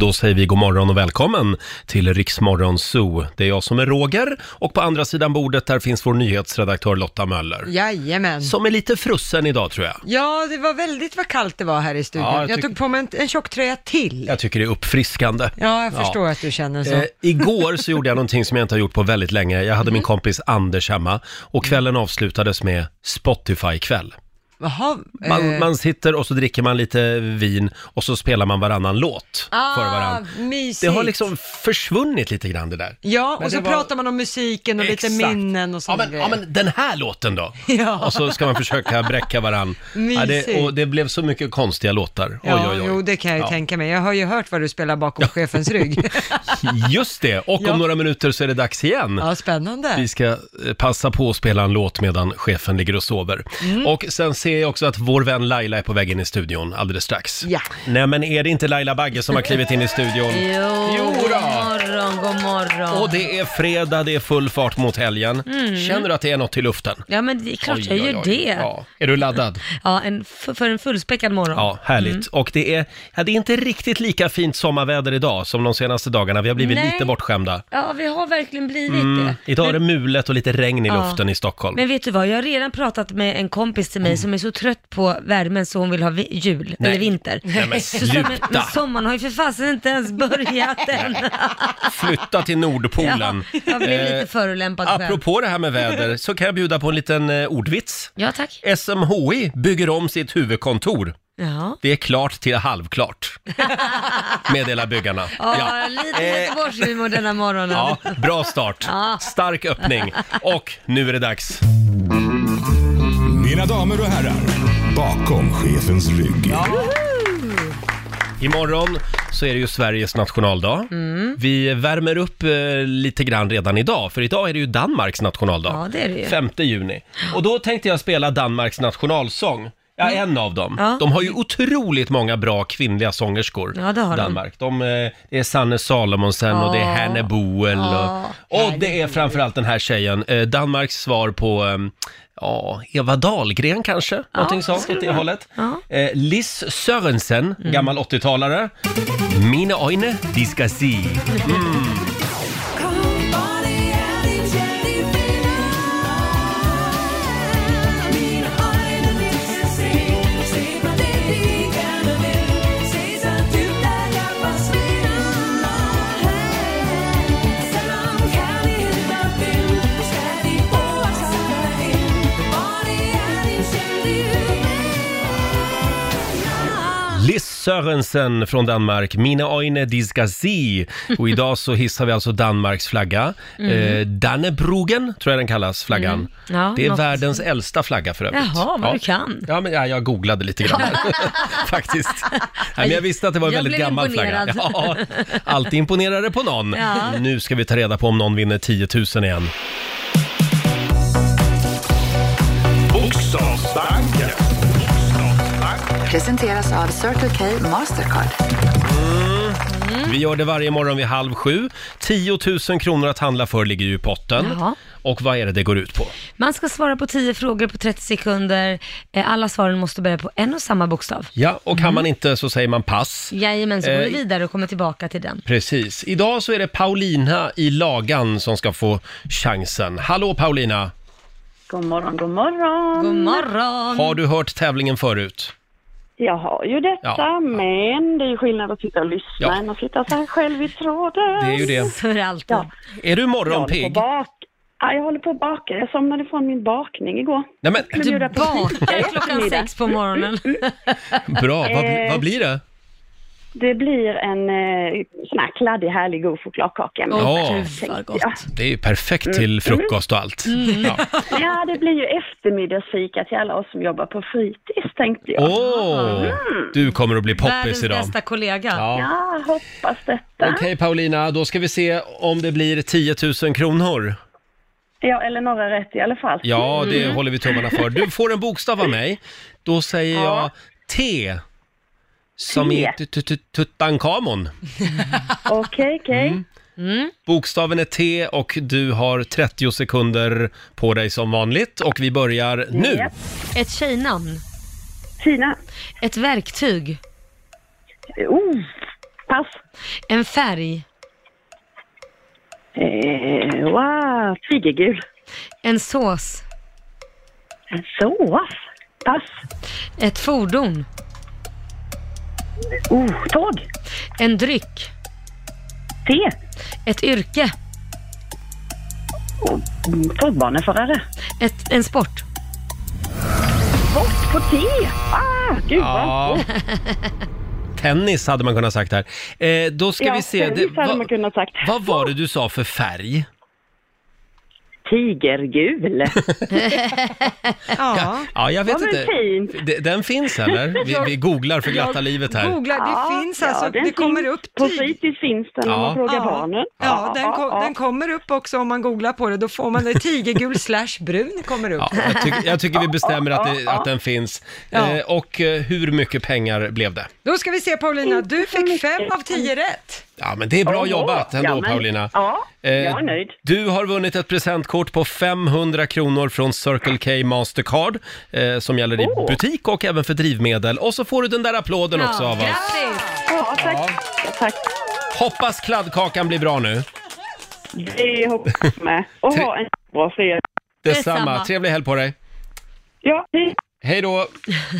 Då säger vi god morgon och välkommen till Riksmorgon Zoo. Det är jag som är Roger och på andra sidan bordet där finns vår nyhetsredaktör Lotta Möller. Jajamän. Som är lite frusen idag tror jag. Ja, det var väldigt vad kallt det var här i studion. Ja, jag jag, tyck- tog på mig en, en tjocktröja till. Jag tycker det är uppfriskande. Ja, jag förstår att du känner så. Eh, igår så gjorde jag någonting som jag inte har gjort på väldigt länge. Jag hade min Mm. kompis Anders hemma och kvällen avslutades med Spotify-kväll. Jaha. Man, eh, man sitter och så dricker man lite vin och så spelar man varannan låt ah, för varann. Mysigt. Det har liksom försvunnit lite grann det där. Ja, Men och så det var- pratar man om musiken och lite Exakt. minnen och Ja sånt. men, ja men den här låten då? Ja. Och så ska man försöka bräcka varann. Ja, det, Mysigt. och det blev så mycket konstiga låtar. Oj, Ja, oj, oj. jo, det kan jag ju Ja. tänka mig. Jag har ju hört vad du spelar bakom chefens rygg. Just det, och Ja. om några minuter så är det dags igen. Ja, spännande. Vi ska eh, passa på att spela en låt medan chefen ligger och sover. Mm. Och sen ser jag också att vår vän Laila är på väg in i studion alldeles strax. Ja. Nej men är det inte Laila Bagge som har klivit in i studion? Jo, Jo då. god morgon, god morgon. Och det är fredag, det är full fart mot helgen. Mm. Känner du att det är något i luften? Ja, men det är klart jag gör det. Ja, Ja. Är du laddad? en, f- för en fullspäckad morgon. Ja, härligt. Mm. Och det är, ja, det är inte riktigt lika fint sommarväder idag som de senaste dagarna. Vi har blivit Nej. lite bortskämda. Ja, vi har verkligen blivit det. Idag är det mulet och lite regn i Ja. luften i Stockholm. Men vet du vad, jag har redan pratat med en kompis till mig som är så trött på värmen så hon vill ha vi- jul, Mm. Nej. eller vinter. Nej, men Så, så- men, sluta. men sommaren har ju för fasen inte ens börjat än. Flytta till Nordpolen. Ja, jag blir lite Eh, förolämpad själv. Apropå det här med väder så kan jag bjuda på en liten eh, ordvits. Ja, tack. SMHI bygger om sitt huvudkontor. Ja. Det är klart till halvklart. Meddelar byggarna. Ja, Ja. lite Eh. Göteborgshumor denna morgonen. Ja, bra start. Ja. Stark öppning. Och nu är det dags. Mina damer och herrar, bakom chefens rygg. Imorgon så är det ju Sveriges nationaldag. Mm. Vi värmer upp eh, lite grann redan idag, för idag är det ju Danmarks nationaldag. Ja, det är det ju. 5 juni. Och då tänkte jag spela Danmarks nationalsång. Ja, en av dem. Mm. Ja. De har ju otroligt många bra kvinnliga sångerskor, Ja, det har de. Danmark. De, eh, det är Sanne Salomonsen och det är Ja. Hanne Boel Ja, och, och det är herregud. framförallt den här tjejen, eh, Danmarks svar på eh, Ja, Eva Dahlgren kanske? Någonting sånt åt det hållet. Ja. Mm. Eh, Liss Sörensen, gammal 80-talare. Mina öjne, de ska se. Liss Sörensen från Danmark, Mina öjne, de ska se. Och idag så hissar vi alltså Danmarks flagga. Eh, Dannebrogen, tror jag den kallas, flaggan. Mm. Ja, det är något- världens äldsta flagga för övrigt. Jaha, vad ja. du kan. Ja, men ja, jag googlade lite grann här. faktiskt. Nej, men jag visste att det var en Jag väldigt blev gammal imponerad. flagga. Ja, alltid imponerar det på någon. Ja. Nu ska vi ta reda på om någon vinner 10 000 igen. Bokstavsbanken. Presenteras av Circle K Mastercard. Mm. Vi gör det varje morgon vid halv sju. 10 000 kronor att handla för ligger ju i potten. Jaha. Och vad är det det går ut på? Man ska svara på 10 frågor på 30 sekunder. Eh, Alla svaren måste börja på en och samma bokstav. Ja, och kan man inte så säger man pass. Jajamän, så går Eh, vi vidare och kommer tillbaka till den. Precis. Idag så är det Paulina i Lagan som ska få chansen. Hallå Paulina! God morgon, god morgon. God morgon! Har du hört tävlingen förut? Jag har ju detta, Ja. men det är ju skillnad att sitta och lyssna Ja. än att sitta så här själv i tråden. Det är ju det. För alltid. Ja. Är du Jag håller på morgonpigg? att baka. Ja, jag håller på att baka. Jag somnade ifrån min bakning igår. Nej men, Jag Du bjuda på bakar fika klockan eftermiddag. sex på morgonen. bra. Vad, bli- Eh. vad blir det? Det blir en eh, sån här kladdig, härlig, god chokladkaka. med- Åh, Ja. gud vad gott. Ja. Det är ju perfekt till frukost och allt. Ja. Ja, det blir ju eftermiddagsfika till alla oss som jobbar på fritids, tänkte jag. Åh, du kommer att bli poppis Världens idag. bästa kollega. Ja. Ja, hoppas detta. Okej Paulina, då ska vi se om det blir 10 000 kronor. Ja, eller några rätt i alla fall. Ja, det håller vi tummarna för. Du får en bokstav av mig. Då säger jag T. Som T. i tut- tut- Tutankhamon. Okej, okej. Bokstaven är T och du har 30 sekunder på dig som vanligt. Och vi börjar nu. Japp. Ett tjejnamn. Tina. Ett verktyg. Oh, Pass. En färg. Eh, wow, tigergul. En sås. En sås. Pass. Ett fordon. Oh, tåg. En dryck. Te. Ett yrke. Mm, Tågbaneförare. Ett, en sport. Bort på te. Ah, gud vad... Ja. Tennis hade man kunnat sagt här. Eh, då ska Ja, vi se. tennis hade vad- man kunnat sagt. Vad var det du sa för färg? Tigergul. Ja. Ja, jag vet Ja, men inte. fint. D- Den finns eller? Vi, vi googlar för glatta livet här. Googla, det Ja, finns ja, alltså, den det kommer finns. upp På tid. fritids finns den om Ja. man frågar barnen. Ja, ja, den, kom, den kommer upp också om man googlar på det. Då får man det tigergul slash brun kommer upp. Ja, jag, tyck, jag tycker vi bestämmer att, det, att den finns. Ja. Eh, och eh, hur mycket pengar blev det? Då ska vi se Paulina, du fick fem av tio rätt. Ja, men det är bra Oho. jobbat ändå Mm. Ja, men- Paulina. ja, jag är Eh, nöjd. Du har vunnit ett presentkort på 500 kronor från Circle K Mastercard eh, som gäller i Åh. butik och även för drivmedel. Och så får du den där applåden också av oss. grattis! Ja, tack. tack. Hoppas kladdkakan blir bra nu. Det hoppas jag med. Och ha en bra fredag. Detsamma. Detsamma. Trevlig helg på dig. Ja, hej. Hej då!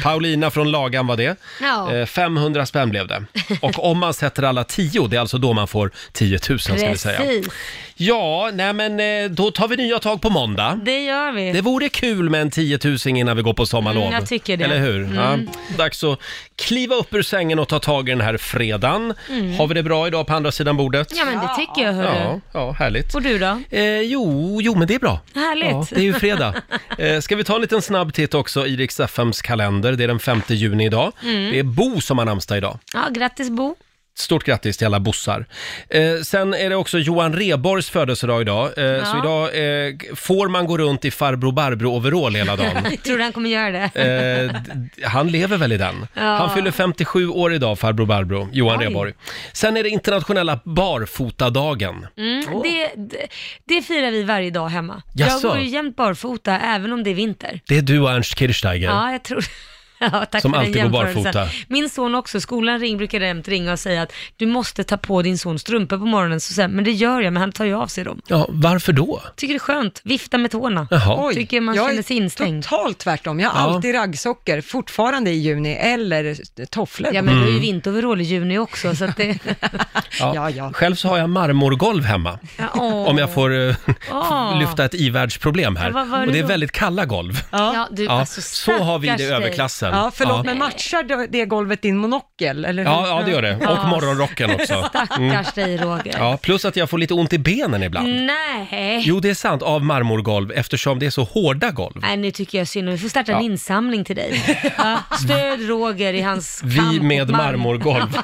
Paulina från Lagan var det. Ja. Eh, 500 spänn blev det. Och om man sätter alla 10, det är alltså då man får 10 000 ska vi säga. Precis, Ja, nej men eh, då tar vi nya tag på måndag. det gör vi. Det vore kul med en 10 000 innan vi går på sommarlov. Mm, jag tycker det. Mm. Eller hur? Ja. Dags att kliva upp ur sängen och ta tag i den här fredagen. Har vi det bra idag på andra sidan bordet? Mm. Ja men det tycker jag hörru. ja, ja härligt. Och du då? Eh, jo, jo, men det är bra. Härligt. Ja, det är ju fredag. Eh, ska vi ta en liten snabb titt också i Rix FMs kalender. Det är den 5 juni idag. Mm. Det är Bo som har namnsdag idag. Ja, grattis Bo. Stort grattis till alla bossar. Eh, sen är det också Johan Reborgs födelsedag idag. Eh, Så idag eh, får man gå runt i farbror Barbro-overall hela dagen. Tror du han kommer göra det? Eh, d- d- han lever väl i den. Han fyller 57 år idag, farbror Barbro, Johan Oj. Rheborg. Sen är det internationella barfotadagen. Mm, det, det, det firar vi varje dag hemma. Jaså? Jag går ju jämt barfota även om det är vinter. Det är du och Ernst Kirchsteiger. Ja, jag tror Ja, tack Som för den alltid går jämförelsen. barfota. Min son också, skolan ring, brukar jämt ringa och säga att du måste ta på din son strumpor på morgonen. Så säger jag, men det gör jag, men han tar ju av sig dem. Ja, varför då? Tycker det är skönt, vifta med tårna. Jaha. Tycker man jag känner är sig instängd. totalt tvärtom. Jag har Ja. alltid raggsockor, fortfarande i juni, eller tofflor. Ja, men du har Mm. ju vinteroverall i juni också, så att det... Ja, ja. Själv så har jag marmorgolv hemma. Ja, åh. Om jag får eh, Åh. lyfta ett ivärldsproblem här. Ja, vad var det och det är då? väldigt kalla golv. Ja, du, Ja, alltså, så har vi det i stackars dig. överklassen. Ja, förlåt, ja. men matchar det golvet din monokel? Eller hur? Ja, ja, det gör det. Och Ja. morgonrocken också. Stackars dig Roger. Mm. Ja, plus att jag får lite ont i benen ibland. Mm. Nej. Jo, det är sant, av marmorgolv eftersom det är så hårda golv. Nej, nu tycker jag synd om Vi får starta en insamling till dig. Ja, stöd Roger i hans kamp Vi mot med marmor. marmorgolv.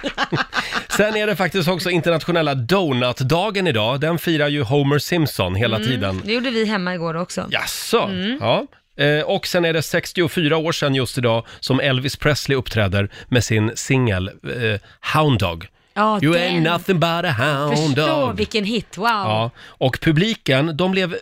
Sen är det faktiskt också internationella donutdagen idag. Den firar ju Homer Simpson hela Mm. tiden. Det gjorde vi hemma igår också. Jaså? Mm. Ja. Eh, Och sen är det 64 år sedan just idag som Elvis Presley uppträder med sin singel eh, Hound Dog. Ja, You den. ain't nothing but a hound Förstå dog. vilken hit, wow. Ja, och publiken, de blev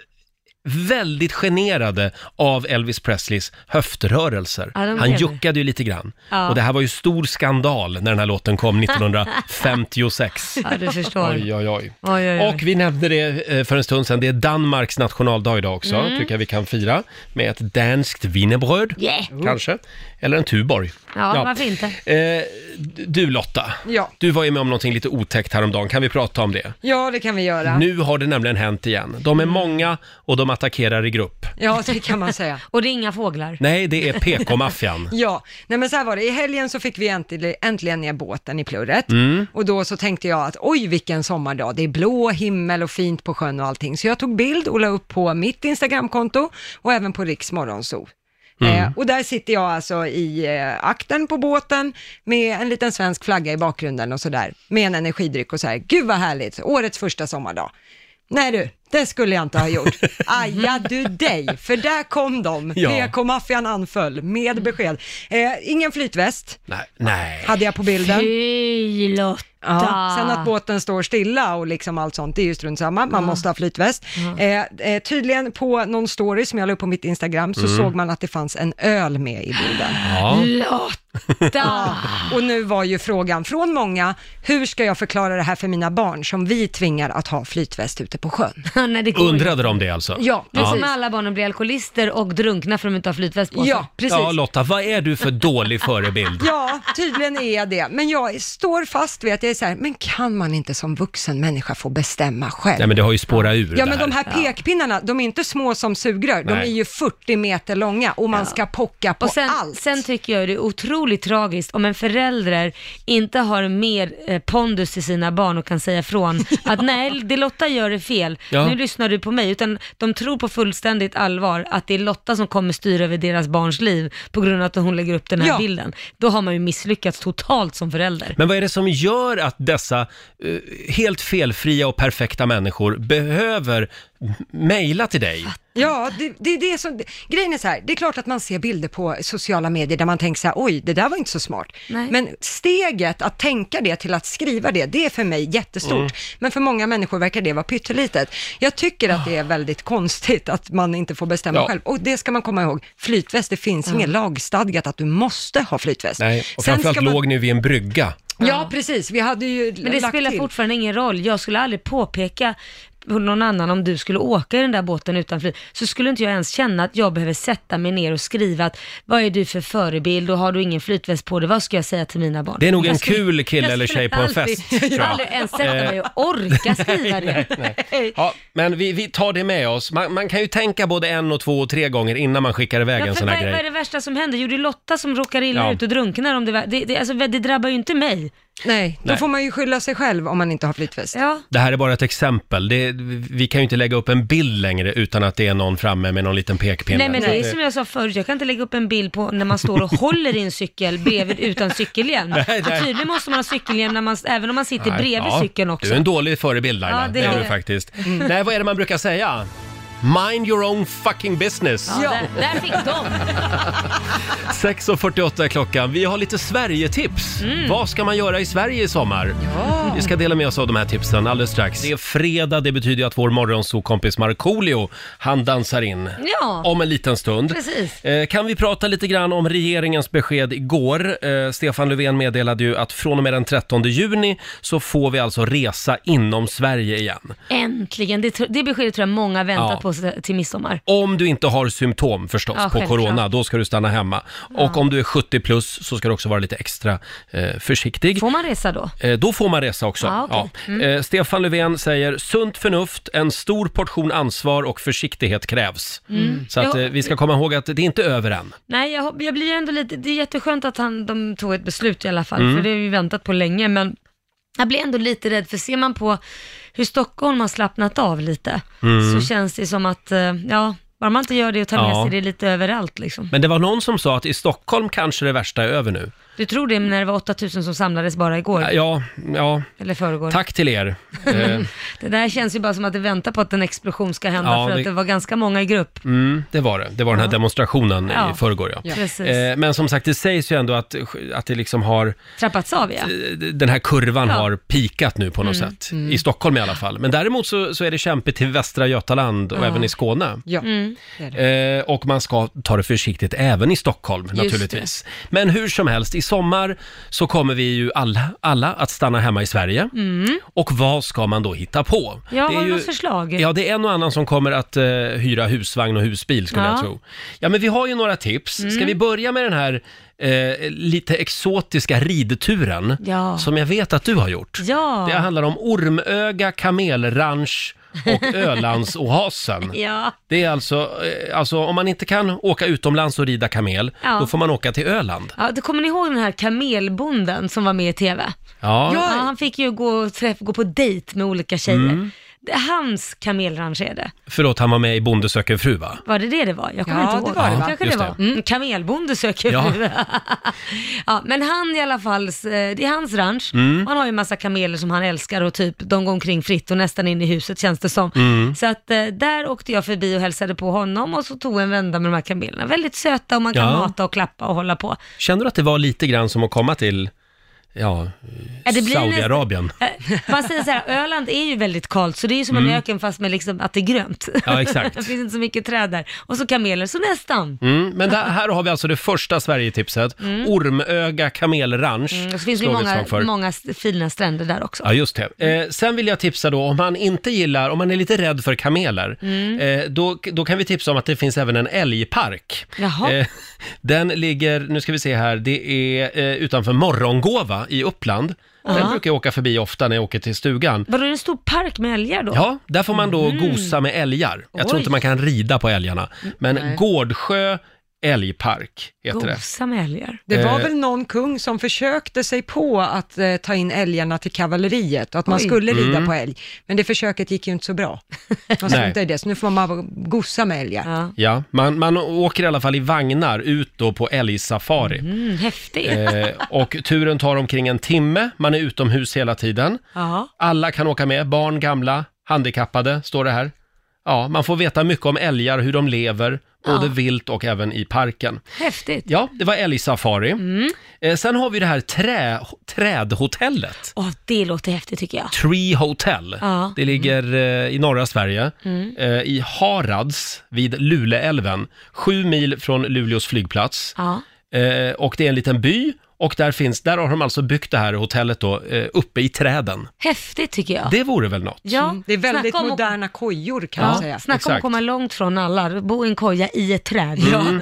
väldigt generade av Elvis Presleys höftrörelser. Ja, de Han blev det. juckade ju lite grann. Ja. Och det här var ju stor skandal när den här låten kom 1956. Ja, du förstår. Oj, oj, oj. Oj, oj, oj. Och vi nämnde det eh, för en stund sedan, det är Danmarks nationaldag idag också, Mm. tycker jag vi kan fira. Med ett danskt wienerbröd, Yeah. kanske. Eller en Tuborg. Ja, varför inte? Eh, du Lotta, Ja. du var ju med om någonting lite otäckt häromdagen, kan vi prata om det? Ja, Mm. det kan vi göra. Nu har det nämligen hänt igen. De är många och de attackerar i grupp. Ja, det kan man säga. Och det är inga fåglar. Nej, det är PK-maffian. Ja, nej men så här var det. I helgen så fick vi äntligen, äntligen ner båten i plurret. Och då så tänkte jag att oj vilken sommardag, det är blå himmel och fint på sjön och allting. Så jag tog bild och la upp på mitt Instagramkonto och även på Riks Morgonzoo. Eh, och där sitter jag alltså i eh, akten på båten med en liten svensk flagga i bakgrunden och sådär, med en energidryck och så här, gud vad härligt, årets första sommardag. Nej du, det skulle jag inte ha gjort. Aja du dig, för där kom de. Ja. PK-maffian anföll med besked. Eh, ingen flytväst Nej, nej. hade jag på bilden. Fy Lotta. Ja. Sen att båten står stilla och liksom allt sånt, det är ju strunt samma, man måste ha flytväst. Eh, eh, tydligen på någon story som jag la upp på mitt Instagram så såg man att det fanns en öl med i bilden. Ja. Lotta. Titta! Och nu var ju frågan från många, hur ska jag förklara det här för mina barn som vi tvingar att ha flytväst ute på sjön? Nej, det går ju Undrade de det alltså? Ja, Det är precis. som när alla barnen blir alkoholister och drunknar för att de inte har flytväst på sig. Ja, precis. Ja, Lotta, vad är du för dålig förebild? Ja, tydligen är jag det. Men jag står fast vid att jag är så här, men kan man inte som vuxen människa få bestämma själv? Nej, men det har ju spårat ur Ja, det men de här pekpinnarna, de är inte små som sugrör, de Nej. är ju 40 meter långa och man ska pocka på Och sen, allt. sen tycker jag det är otroligt tragiskt om en förälder inte har mer eh, pondus till sina barn och kan säga från att nej, det Lotta gör är fel, Ja. nu lyssnar du på mig. Utan de tror på fullständigt allvar att det är Lotta som kommer styra över deras barns liv på grund av att hon lägger upp den här Ja. bilden. Då har man ju misslyckats totalt som förälder. Men vad är det som gör att dessa eh, helt felfria och perfekta människor behöver m- mejla till dig? Ja, det, det är det som... Grejen är så här, det är klart att man ser bilder på sociala medier där man tänker så här, oj, det där var inte så smart. Nej. Men steget att tänka det till att skriva det, det är för mig jättestort. Mm. Men för många människor verkar det vara pyttelitet. Jag tycker att det är väldigt konstigt att man inte får bestämma Ja. själv. Och det ska man komma ihåg, flytväst, det finns inget lagstadgat att du måste ha flytväst. Nej, och Sen framförallt ska man- låg ni vid en brygga. Ja, precis. Vi hade ju Men det lagt spelar till. fortfarande ingen roll. Jag skulle aldrig påpeka på någon annan om du skulle åka i den där båten utan flyg, så skulle inte jag ens känna att jag behöver sätta mig ner och skriva att vad är du för förebild och har du ingen flytväst på dig, vad ska jag säga till mina barn? Det är nog en Jag skulle- kul kille jag eller skulle tjej på en aldrig- fest, tror jag. Eh. aldrig ens sätta mig och orka skriva det. Ja, men vi, vi tar det med oss. Man, man kan ju tänka både en och två och tre gånger innan man skickar iväg Ja, en för sån vad, här vad är grej. det värsta som händer? Jo, det är Lotta som råkar illa Ja. ut och drunknar om det, var- det, det, alltså, det drabbar ju inte mig. Nej, då Nej. får man ju skylla sig själv om man inte har flytväst. Ja. Det här är bara ett exempel. Det, vi kan ju inte lägga upp en bild längre utan att det är någon framme med någon liten pekpinne. Nej men det är som jag sa förut, jag kan inte lägga upp en bild på när man står och håller i en cykel bredvid utan cykelhjälm. Nej, nej. Och Tydligen måste man ha cykelhjälm när man, även om man sitter Nej, bredvid ja. cykeln också. Du är en dålig förebild Laila, Ja, det, det Mm. är är du jag. faktiskt. Nej, vad är det man brukar säga? Mind your own fucking business. Ja, Där, där fick de. 6.48 är klockan. Vi har lite Sverigetips. Mm. Vad ska man göra i Sverige i sommar? Vi ska dela med oss av de här tipsen alldeles strax. Det är fredag, det betyder ju att vår morgonsokompis Markoolio, han dansar in Ja. om en liten stund. Precis. Eh, Kan vi prata lite grann om regeringens besked igår? Eh, Stefan Löfven meddelade ju att från och med den 13 juni så får vi alltså resa inom Sverige igen. Äntligen, det, tro- det beskedet tror jag många väntat Ja. på se- till midsommar. Om du inte har symptom förstås Ja, på självklart. corona, då ska du stanna hemma. Och om du är 70 plus så ska du också vara lite extra eh, försiktig. Får man resa då? Eh, Då får man resa också. Ja, okej. Mm. Ja. Eh, Stefan Löfven säger sunt förnuft, en stor portion ansvar och försiktighet krävs. Mm. Så att, eh, vi ska komma ihåg att det är inte över än. Nej, jag, hop- jag blir ju ändå lite, det är jätteskönt att han, de tog ett beslut i alla fall, Mm. för det har vi väntat på länge, men jag blir ändå lite rädd, för ser man på hur Stockholm har slappnat av lite, så känns det som att, eh, ja, bara man inte gör det och tar med Mm. Ja. sig det lite överallt liksom. Men det var någon som sa att i Stockholm kanske det värsta är över nu. Du tror det när det var 8000 som samlades bara igår, Ja, ja, eller förrgår? tack till er. Mm. Eh, Det där känns ju bara som att det väntar på att en explosion ska hända, Ja, för det- att det var ganska många i grupp. Mm, det var det. Det var den här demonstrationen i Ja. förrgår. Ja. Precis. Eh, Men som sagt, det sägs ju ändå att, att det liksom har, Trappats av ja. eh, den här kurvan Ja. har pikat nu på något sätt. I Stockholm i alla fall. Men däremot så, så är det kämpigt i Västra Götaland och även i Skåne. Ja, Mm. det är det. Eh, och man ska ta det försiktigt även i Stockholm naturligtvis. Men hur som helst, i sommar så kommer vi ju alla, alla att stanna hemma i Sverige. Och vad ska man då hitta på? Mm. Ja, har du ju, något förslag? Ja, det är en och annan som kommer att eh, hyra husvagn och husbil skulle Ja. Mm. jag tro. Ja, men vi har ju några tips. Ska vi börja med den här eh, lite exotiska ridturen Ja. som jag vet att du har gjort? Ja. Det handlar om Ormöga, Kamelranch och Ölandsoasen. Ja. Det är alltså, eh, alltså, om man inte kan åka utomlands och rida kamel, Ja. då får man åka till Öland. Ja, då kommer ni ihåg den här kamelbonden som var med i TV? Ja, Ja, han fick ju gå, och träff, gå på dejt med olika tjejer. Det- Hans kamelranch är det. förlåt, han var med i Bonde söker fru va? Var det det det var? Jag kommer Ja, inte det ihåg. var det, va? Kanske det Just var. det. Mm, kamelbonde söker Ja. fru. ja, men han i alla fall, eh, det är hans ranch. Han har ju en massa kameler som han älskar och typ de går omkring fritt och nästan in i huset känns det som. Så att eh, där åkte jag förbi och hälsade på honom och så tog en vända med de här kamelerna. Väldigt söta och man kan Ja. mata och klappa och hålla på. Känner du att det var lite grann som att komma till ja, Ja, det blir nästan- Saudiarabien. Man säger så här, Öland är ju väldigt kallt så det är ju som en öken fast med liksom att det är grönt. Mm. Ja, exakt. det finns inte så mycket träd där. Och så kameler, så nästan. Mm, men där, här har vi alltså det första Sverigetipset. Ormöga kamelranch. Mm, och så finns det ju slår vi ett många, slag för. många st- fina stränder där också. Ja, just det. Eh, sen vill jag tipsa då, om man inte gillar, om man är lite rädd för kameler, Mm. eh, då, då kan vi tipsa om att det finns även en älgpark. Jaha. Eh, den ligger, nu ska vi se här, det är eh, utanför Morgongåva i Uppland. Den Ja. brukar jag åka förbi ofta när jag åker till stugan. Vadå, är det en stor park med älgar då? Ja, där får man då gosa med älgar. Jag tror Mm. Oj. inte man kan rida på älgarna. Men Gårdsjö älgpark heter det. Gosa med älgar. Det Eh. var väl någon kung som försökte sig på att eh, ta in älgarna till kavalleriet och att man Oj. skulle rida Mm. på älg, men det försöket gick ju inte så bra. Man struntade i det, så nu får man bara gossa med älgar. Ja. Ja, man, man åker i alla fall i vagnar ut då på älgsafari. Mm, häftigt. Eh, och turen tar omkring en timme, man är utomhus hela tiden. Ja. Alla kan åka med, barn, gamla, handikappade, står det här. Ja, man får veta mycket om älgar, hur de lever, både Ja. vilt och även i parken. Häftigt. Ja, det var älgsafari. Mm. Eh, sen har vi det här trä, trädhotellet. Åh, det låter häftigt tycker jag. Tree Hotel. Ja. Mm. Det ligger eh, i norra Sverige, eh, i Harads vid Luleälven, sju mil från Luleås flygplats. Ja. Eh, och det är en liten by och där, finns, där har de alltså byggt det här hotellet då, eh, uppe i träden. Häftigt tycker jag. Det vore väl något? ja. Mm. Det är väldigt snacka om att- moderna kojor kan man säga. Ja, snacka om Exakt. att komma långt från alla. Bo i en koja i ett träd. Ja. Mm.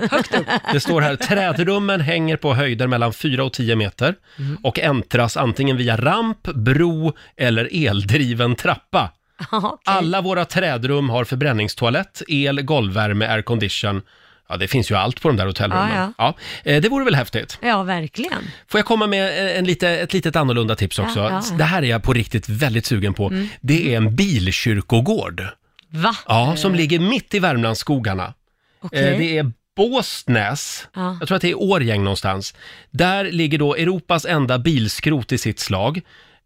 Det står här, trädrummen hänger på höjder mellan 4 och 10 meter Mm. och entras antingen via ramp, bro eller eldriven trappa. Ja, okej. Alla våra trädrum har förbränningstoalett, el, golvvärme, aircondition. Ja, det finns ju allt på de där hotellrummen. Ja, Ja, eh, det vore väl häftigt. Ja, verkligen. Får jag komma med eh, en lite, ett litet annorlunda tips också? Ja, Mm. ja, ja. Det här är jag på riktigt väldigt sugen på. Det är en bilkyrkogård. Va? Ja, som Eh. ligger mitt i Värmlandsskogarna. Okej. Eh, Det är Båstnäs, Ja. jag tror att det är Årjäng någonstans. Där ligger då Europas enda bilskrot i sitt slag.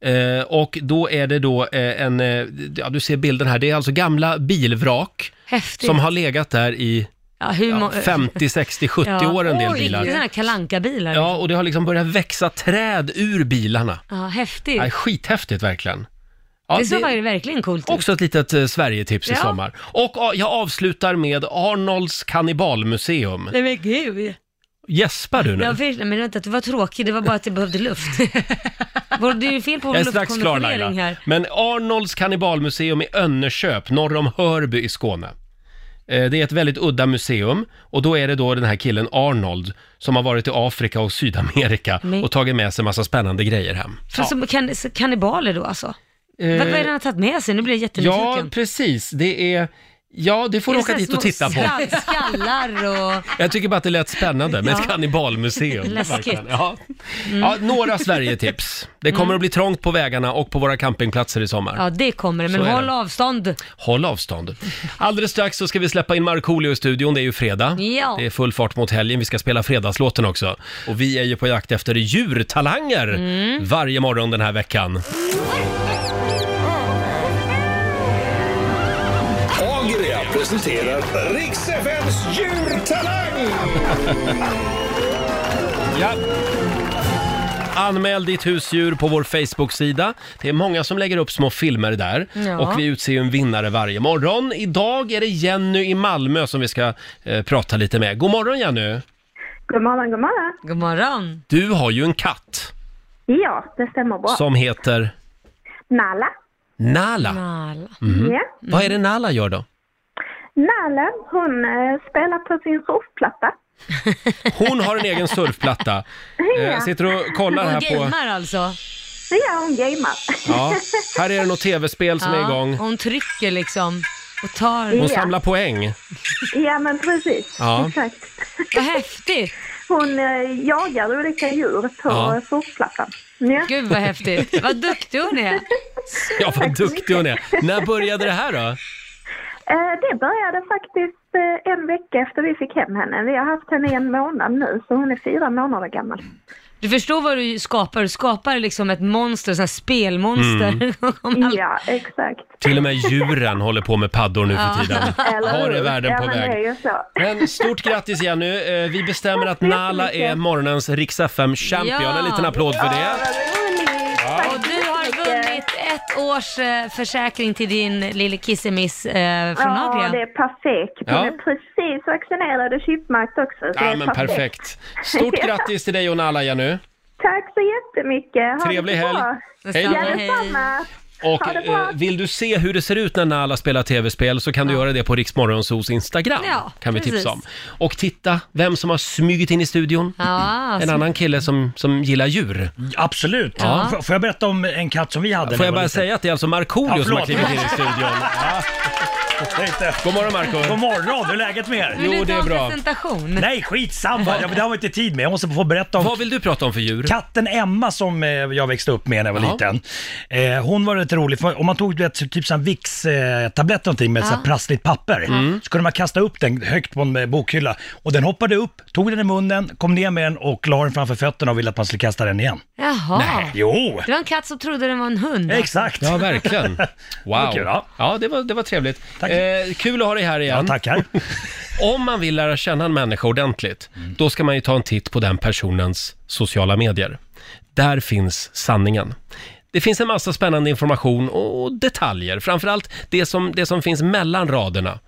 Eh, och då är det då eh, en, eh, ja du ser bilden här, det är alltså gamla bilvrak Häftigt. som har legat där i ja, Typ. hur ja, må- 50, 60, 70 år en del Oj, Det är bilar. sådana här kalankabilar. Ja, och det har liksom börjat växa träd ur bilarna. ja, häftigt. Nej, skithäftigt verkligen. Ja, det såg det... verkligen coolt ut. Också ett litet eh, Sverigetips i Ja. sommar. Och ja, jag avslutar med Arnolds kannibalmuseum. Nej men gud. Gäspar du nu? Jag förstår, men vänta, det var tråkigt, det var bara att jag behövde luft. Var det är ju fel på Jag vår är strax klar luftkonditionering Laila. här. Men Arnolds kannibalmuseum i Önnerköp, norr om Hörby i Skåne. Eh, Det är ett väldigt udda museum och då är det då den här killen Arnold som har varit i Afrika och Sydamerika Men- och tagit med sig massa spännande grejer hem. Fast som kan, så kannibaler då alltså? Eh, Vad, vad är det han har tagit med sig? Nu blir jag Ja, jättenyfiken. precis. Det är... Ja, det får Är du det åka så här dit och små titta på. skall- Skallar och... Jag tycker bara att det lät spännande med ett kannibalmuseum. Läskigt. verkligen. Mm. Ja. Ja, några Sverigetips. Det kommer att bli trångt på vägarna och på våra campingplatser i sommar. Ja, det kommer det, men Så är håll det. avstånd. Håll avstånd. Alldeles strax så ska vi släppa in Markoolio i studion. Det är ju fredag. Ja. Det är full fart mot helgen. Vi ska spela fredagslåten också. Och vi är ju på jakt efter djurtalanger Mm. varje morgon den här veckan. Agria presenterar riks FMs djurtalang! Ja. Anmäl ditt husdjur på vår Facebook-sida. Det är många som lägger upp små filmer där. Ja. Och vi utser ju en vinnare varje morgon. Idag är det Jenny i Malmö som vi ska eh, prata lite med. God morgon Jenny! God morgon, god morgon. God morgon. Du har ju en katt Ja, det stämmer bra. som heter Nala. Nala. Alla. Mm. Ja. Vad är det Nala gör då? Nala, hon eh, spelar på sin surfplatta. Hon har en egen surfplatta. Eh, Jag sitter och kollar Hon här på... gamer alltså. Ja, hon gamer. Ja, här är det något tv-spel som är igång. Hon trycker liksom och tar... Hon Ja. samlar poäng. Ja, men precis. Ja. Exakt. Vad häftigt! Hon eh, jagar olika djur på Ja. ja. surfplattan. Ja. Gud vad häftigt. Vad duktig hon är. Ja, vad duktig hon är. När började det här då? Eh, Det började faktiskt eh, en vecka efter vi fick hem henne. Vi har haft henne i en månad nu, så hon är fyra månader gammal. Du förstår vad du skapar, du skapar liksom ett monster, sånt här spelmonster. Mm. Ja, exakt. Till och med djuren håller på med paddor nu för tiden. Eller Har är hur? världen ja, på men Det är väg. ju så. Men stort grattis Jenny! Eh, Vi bestämmer att Nala är morgonens riks FM champion Ja. En liten applåd för det. Vad roligt. Tack Och så du har mycket. vunnit ett års eh, försäkring till din lille kissemiss eh, från Ja, det Adrian. är perfekt. Hon Ja. är precis vaccinerad och chipmärkt också. Så det Ja är men perfekt. Stort grattis till dig och Nala Jenny. Tack så jättemycket. Ha Trevlig det så helg. bra. Hej Detsamma, då. Ja, detsamma. Och Ha det bra. eh, vill du se hur det ser ut när Nala spelar tv-spel så kan du göra det på Riksmorgonsos Instagram. Ja, kan vi precis. tipsa om. Och titta vem som har smugit in i studion. Ja, alltså. En så- annan kille som, som gillar djur. Absolut. Ja. F- Får jag berätta om en katt som vi hade? när Får jag jag var bara liten? säga att det är alltså Markoolio Ja, som har förlåt. klivit in i studion. Tänkte- God Mm. morgon God Marco. morgon, hur är läget med er? Vill Jo, du det är ta en bra. presentation? Nej, skitsamma. Ja, men Det har vi inte tid med. Jag måste få berätta om Vad vill du prata om för djur? Katten Emma som eh, jag växte upp med när jag var Ja. liten, eh, hon var rätt rolig. För om man tog du vet, typ en Vicks-tablett någonting med Ja. ja. prassligt papper, Mm. så kunde man kasta upp den högt på en eh, bokhylla. Och den hoppade upp, tog den i munnen, kom ner med den och la den framför fötterna och ville att man skulle kasta den igen. Jaha. Jo, Det var en katt som trodde den var en hund. exakt. Ja, verkligen. Wow. var kul, ja. Ja, det var, det var trevligt. Tack. Eh, kul att ha dig här igen. Ja, tackar. Om man vill lära känna en människa ordentligt, då ska man ju ta en titt på den personens sociala medier. Där finns sanningen. Det finns en massa spännande information och detaljer, framförallt det som, det som finns mellan raderna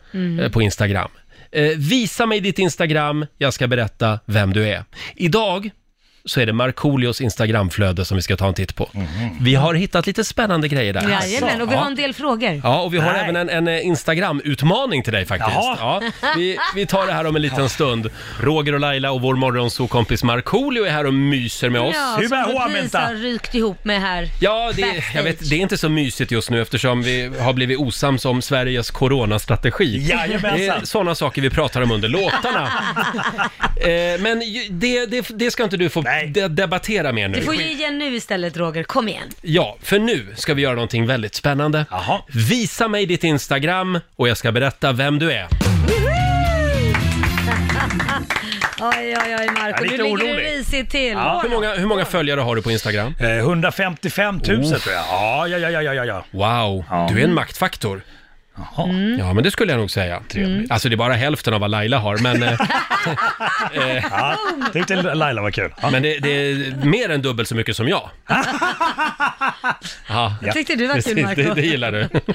eh, på Instagram. Eh, visa mig ditt Instagram, jag ska berätta vem du är. Idag så är det Markoolios Instagramflöde som vi ska ta en titt på. Vi har hittat lite spännande grejer där. Jajamän, och vi Ja. har en del frågor. Ja, och vi har Nej. även en, en eh, Instagram-utmaning till dig faktiskt. Ja, Jaha. vi, vi tar det här om en liten stund. Roger och Laila och vår morgonsokompis Markoolio är här och myser med oss. Ja, Hur som är du H&M, precis vänta? har rykt ihop med här. Ja, det, Backstage. jag vet, det är inte så mysigt just nu eftersom vi har blivit osams om Sveriges coronastrategi. Det är Jajamensan. sådana saker vi pratar om under låtarna. eh, men ju- det, det, det ska inte du få Nej. de- debattera med nu. Du får ge igen nu istället Roger, kom igen. Ja, för nu ska vi göra någonting väldigt spännande. Jaha. Visa mig ditt Instagram och jag ska berätta vem du är. Oj, oj, oj Jag är lite Marco, nu ligger du orolig. risigt till. Hur många, hur många följare har du på Instagram? Eh, 155 000 tror jag. Ja, ja, ja, ja, ja, ja, ja. Wow, du är en maktfaktor. Mm. Jaha. Ja, men det skulle jag nog säga. Alltså det är bara hälften av vad Laila har, men, eh, ja. Tyckte Laila var kul. Ja. men det, det är mer än dubbelt så mycket som jag. Ja, Jag tyckte du var kul precis, Marco. det, det gillar du.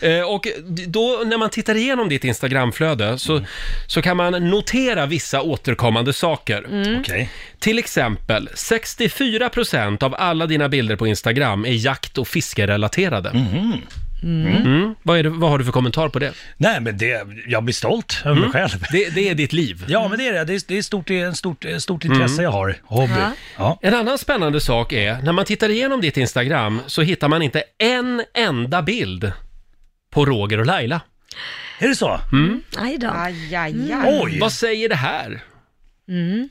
Eh, och då när man tittar igenom ditt Instagramflöde så, så kan man notera vissa återkommande saker. Mm. Okej. Till exempel, 64% av alla dina bilder på Instagram är jakt och fiskerelaterade. Mhm. Mm. Vad, är det, vad har du för kommentar på det? Nej, men det, jag blir stolt över mig själv. Det, det är ditt liv. Mm. Ja, men det är det. Det är, det är stort, det är en stort, eh, stort intresse jag har. Hobby. Ja. Ja. En annan spännande sak är, när man tittar igenom ditt Instagram så hittar man inte en enda bild på Roger och Laila. Är det så? Aj då. Aj, aj, aj. Oj! Vad säger det här?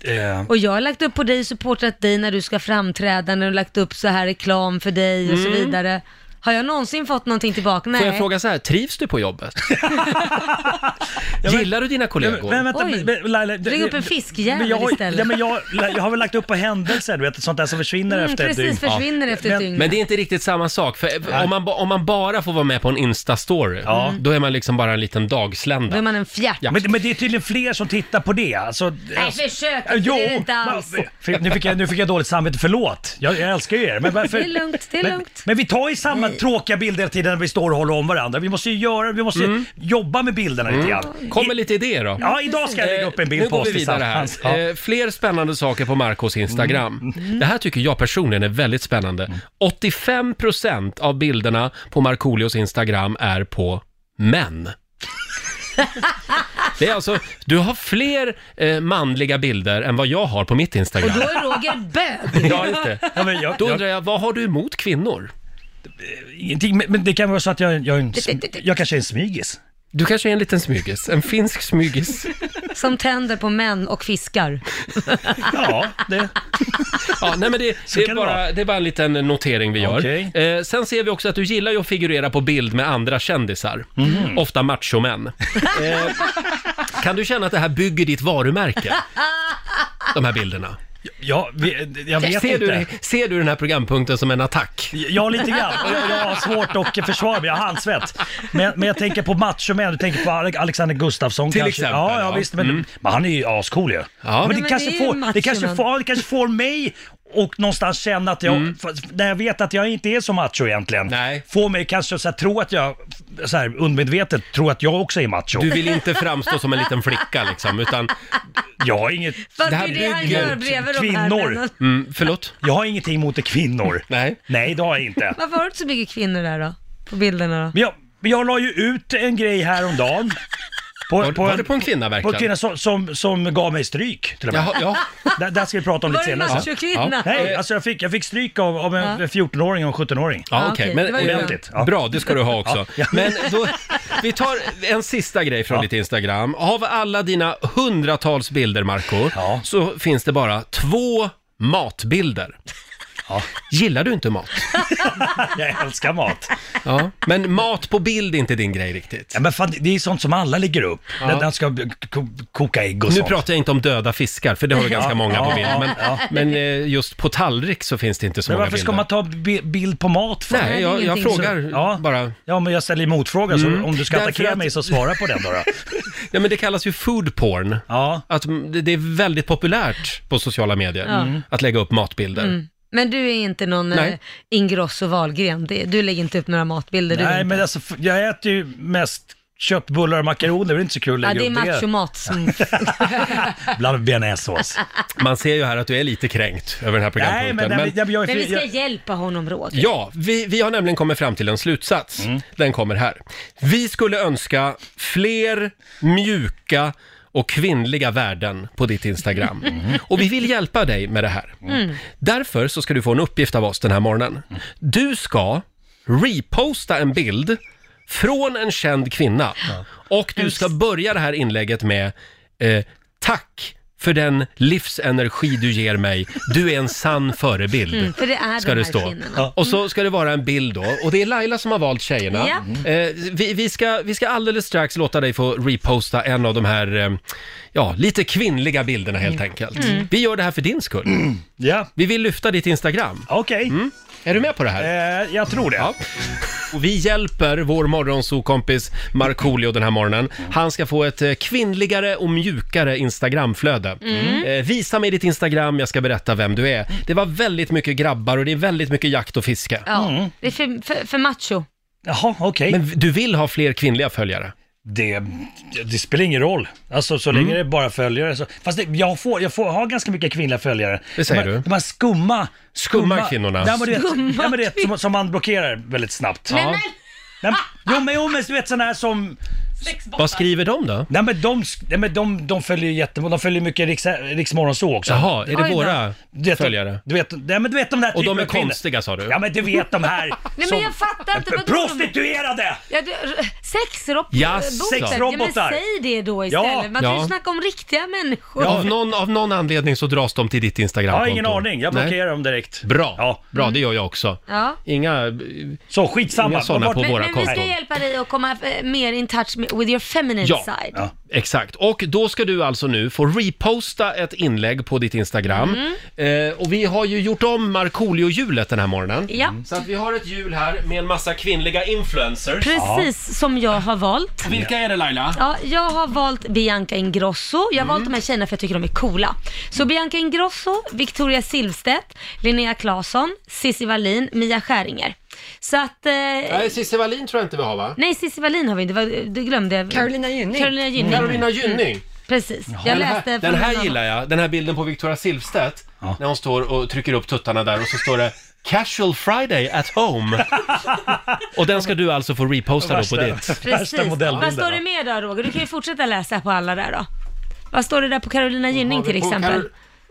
Eh, Och jag har lagt upp på dig, supportat dig när du ska framträda, när du har lagt upp så här reklam för dig och så vidare. Har jag någonsin fått någonting tillbaka? Nej. Får jag fråga så här, trivs du på jobbet? Gillar du dina kollegor? men vänta, Oj. men, men, Laila, Ring upp en fiskjävel men jag har- istället. Ja, men jag, jag har väl lagt upp på händelser, du vet, sånt där som försvinner Mm, efter ett precis, dygn. försvinner efter ett Men- dygn. Men det är inte riktigt samma sak, för eh, om man, ba- om man bara får vara med på en Insta-story, Ja. då är man liksom bara en liten Då är dagslända. man en fjärt. Ja. Men, men det är tydligen fler som tittar på det. Alltså, Nej, försök inte, Jo, det är det inte alls. men- för- nu, fick jag, nu fick jag dåligt samvete, förlåt. Jag, jag älskar ju er. Men varför, Det är lugnt, det är men, lugnt. men vi tar ju samma Mm. tråkiga bilder hela tiden när vi står och håller om varandra. Vi måste ju göra, vi måste ju jobba med bilderna lite Mm. grann. Mm. Kommer lite idéer då. Eh, Ja, idag ska jag lägga upp en bild nu på går oss vi vidare här. tillsammans. Ja. Mm. Eh, fler spännande saker på Marcos Instagram. Det här tycker jag personligen är väldigt spännande. 85% av bilderna på Markoolios Instagram är på män. Det är alltså, du har fler eh, manliga bilder än vad jag har på mitt Instagram. Då är Roger bög. Ja, just det. Ja, men jag, Då jag, undrar jag, vad har du emot kvinnor? ingenting, men- men det kan vara så att jag, jag, är en, sm- jag kanske är en smygis. Du kanske är en liten smygis, en finsk smygis. Som tänder på män och fiskar. Ja, det... Ja, nej men det, det, är kan det bara, vara. det är bara en liten notering vi gör. Okej. Eh, sen ser vi också att du gillar ju att figurera på bild med andra kändisar. Mhm. Ofta machomän. eh, kan du känna att det här bygger ditt varumärke? De här bilderna. Ja, vi, jag vet Ser inte. du, ser du den här programpunkten som en attack? Ja, lite grann. Jag, jag har svårt att försvara mig, jag har handsvett. Men, men jag tänker på matchomän, du tänker på Ale- Alexander Gustafsson Till kanske. exempel, Ja, ja, ja. Mm. visst. Men, men han är ju ascool ju. Men, Nej, det, men kanske det är får, det, machoman. kanske får, ja, det kanske får mig och någonstans känna att jag, för- när jag vet att jag inte är så macho egentligen, Mm. Nej. får mig kanske så här, tro att jag, så här, undermedvetet, tro att jag också är macho. Du vill inte framstå som en liten flicka liksom, utan... Jag, har inget, För Det det, här är det han bygger gör bredvid de kvinnor. här männen. Mm, förlåt? jag har ingenting emot kvinnor. Nej. Nej, det har jag inte. Varför har du inte så mycket kvinnor där då? På bilderna då? Men jag, men jag la ju ut en grej häromdagen. På, Var, var det på en kvinna På en verkligen? kvinna som, som, som gav mig stryk till och med. Jaha, Eh. ja. Där, där ska vi prata om Var lite det en senare. Ja. machokvinna? Ja. Nej, alltså jag fick, jag fick stryk av, av en 14-åring och en 17-åring. Ja, Ja, Ah, okej. okej. Det var Men, ju ordentligt. Ja. Bra, det ska du ha också. Ja. Men då, vi tar en sista grej från Ja. ditt Instagram. Av alla dina hundratals bilder, Marco, Ja. så finns det bara två matbilder. Ja. Gillar du inte mat? Jag älskar mat. Ja. Men mat på bild är inte din grej riktigt. Ja, men fan, det är sånt som alla lägger upp. Ja. När man ska b- ko- koka ägg och Nu sånt. pratar jag inte om döda fiskar, för det har du ganska Ja, många på ja, bild. Men, ja. men eh, just på tallrik så finns det inte så men många varför ska bilder. man ta bi- bild på mat för? Nej, jag, jag Ingenting. frågar Ja. bara. Mm. Ja, men jag ställer ju motfrågan, så om du ska Därför attackera att- mig så svara på den då. då. Ja, men det kallas ju food porn. Ja. Att mm, det det är väldigt populärt på sociala medier att lägga upp matbilder. Mm. Men du är inte någon Nej. eh, Ingrosso Wahlgren. Det- Du lägger inte upp några matbilder. du Nej, inte. men alltså, f- jag äter ju mest köttbullar och makaroner, det är inte så kul Ja, att det är lägga upp machomat som... det. Bland bearnaisesås. Man ser ju här att du är lite kränkt över den här Nej, men, programpunkten. nej, men, jag, jag, Men vi jag, ska hjälpa honom Roger. Ja, vi, vi har nämligen kommit fram till en slutsats. Mm. Den kommer här. Vi skulle önska fler mjuka och kvinnliga värden på ditt Instagram. Mm. Och vi vill hjälpa dig med det här. Därför så ska du få en uppgift av oss den här morgonen. Mm. Du ska reposta en bild från en känd kvinna. Och du ska börja det här inlägget med eh, Tack för den livsenergi du ger mig. Du är en sann förebild Mm, för det är ska de det här stå. kvinnorna. Ja. Och så ska det vara en bild då. Och det är Laila som har valt tjejerna. Ja. Eh, vi, vi, ska, vi ska alldeles strax låta dig få reposta en av de här, eh, ja, lite kvinnliga bilderna helt Mm. enkelt. Vi gör det här för din skull. ja, Vi vill lyfta ditt Instagram. okej. Är du med på det här? Eh, jag tror det. Mm. Ja. Och vi hjälper vår morgonsokompis Markoolio den här morgonen. Han ska få ett eh, kvinnligare och mjukare Instagramflöde. Mm. Eh, Visa mig ditt Instagram, jag ska berätta vem du är. Det var väldigt mycket grabbar och det är väldigt mycket jakt och fiske. Ja, det är för, för, för macho. Jaha, okej. Men du vill ha fler kvinnliga följare? Det, det spelar ingen roll. Alltså så Mm. länge det är bara följare så. Fast det, jag, får, jag får ha ganska mycket kvinnliga följare. Det säger de här, du. De här skumma... Skumma kvinnorna. Nej, men du vet, nej, men du vet, som, som man blockerar väldigt snabbt. Ja. Nej, men, jo, men, jo men du vet sådana här som... Vad skriver de då? Nej men de, sk- nej, men de, de följer ju jättemånga, de följer mycket Riks, Riksmorgon så också. Jaha, är det Oj då. våra Du vet, följare? Du vet, nej, men du vet de där Och de typen är av kvinnor. konstiga sa du? Ja men du vet de här Nej men jag fattar inte vad du- Prostituerade! Ja, du, sexrobotar. Ja, Ja, men sexrobotar. säg det då Ja. istället. Man kan Ja. ju snacka om riktiga människor. Av, någon, av någon anledning så dras de till ditt Jag Instagramkonto. har ingen aning, jag Nej. blockerar dem direkt. Bra, Ja. bra det gör jag också. Mm. Ja. Inga... eh, Så Inga skitsamma. såna Bort- på Men, våra men vi ska konton. hjälpa dig att komma eh, mer in touch med, with your feminine Ja. side. Ja. Exakt, och då ska du alltså nu få reposta ett inlägg på ditt Instagram. Eh, och vi har ju gjort om Markoolio-hjulet den här morgonen. Mm. Ja. Så att vi har ett hjul här med en massa kvinnliga influencers. Precis som jag har valt. Vilka är det Laila? Ja, jag har valt Bianca Ingrosso. Jag har Mm. valt de här tjejerna för jag tycker de är coola. Så Bianca Ingrosso, Victoria Silvstedt, Linnea Claesson, Cissi Wallin, Mia Skäringer. Så att... Eh, Nej, Cissi Wallin tror jag inte vi har va? nej, Cissi Wallin har vi inte, det var- det glömde jag. Carolina Gynning. Carolina Gynning. Carolina Gynning. Precis. Jag den läste här, från Mm. den här en annan. gillar jag, den här bilden på Victoria Silvstedt. När hon står och trycker upp tuttarna där och så står det Casual Friday at home. och den ska du alltså få reposta då på Värsta- ditt. Värsta Precis. Vad står det modellbilden. mer där Roger? Du kan ju fortsätta läsa på alla där då. Vad står det där på Carolina Gynning till Och exempel? Äh, Karo-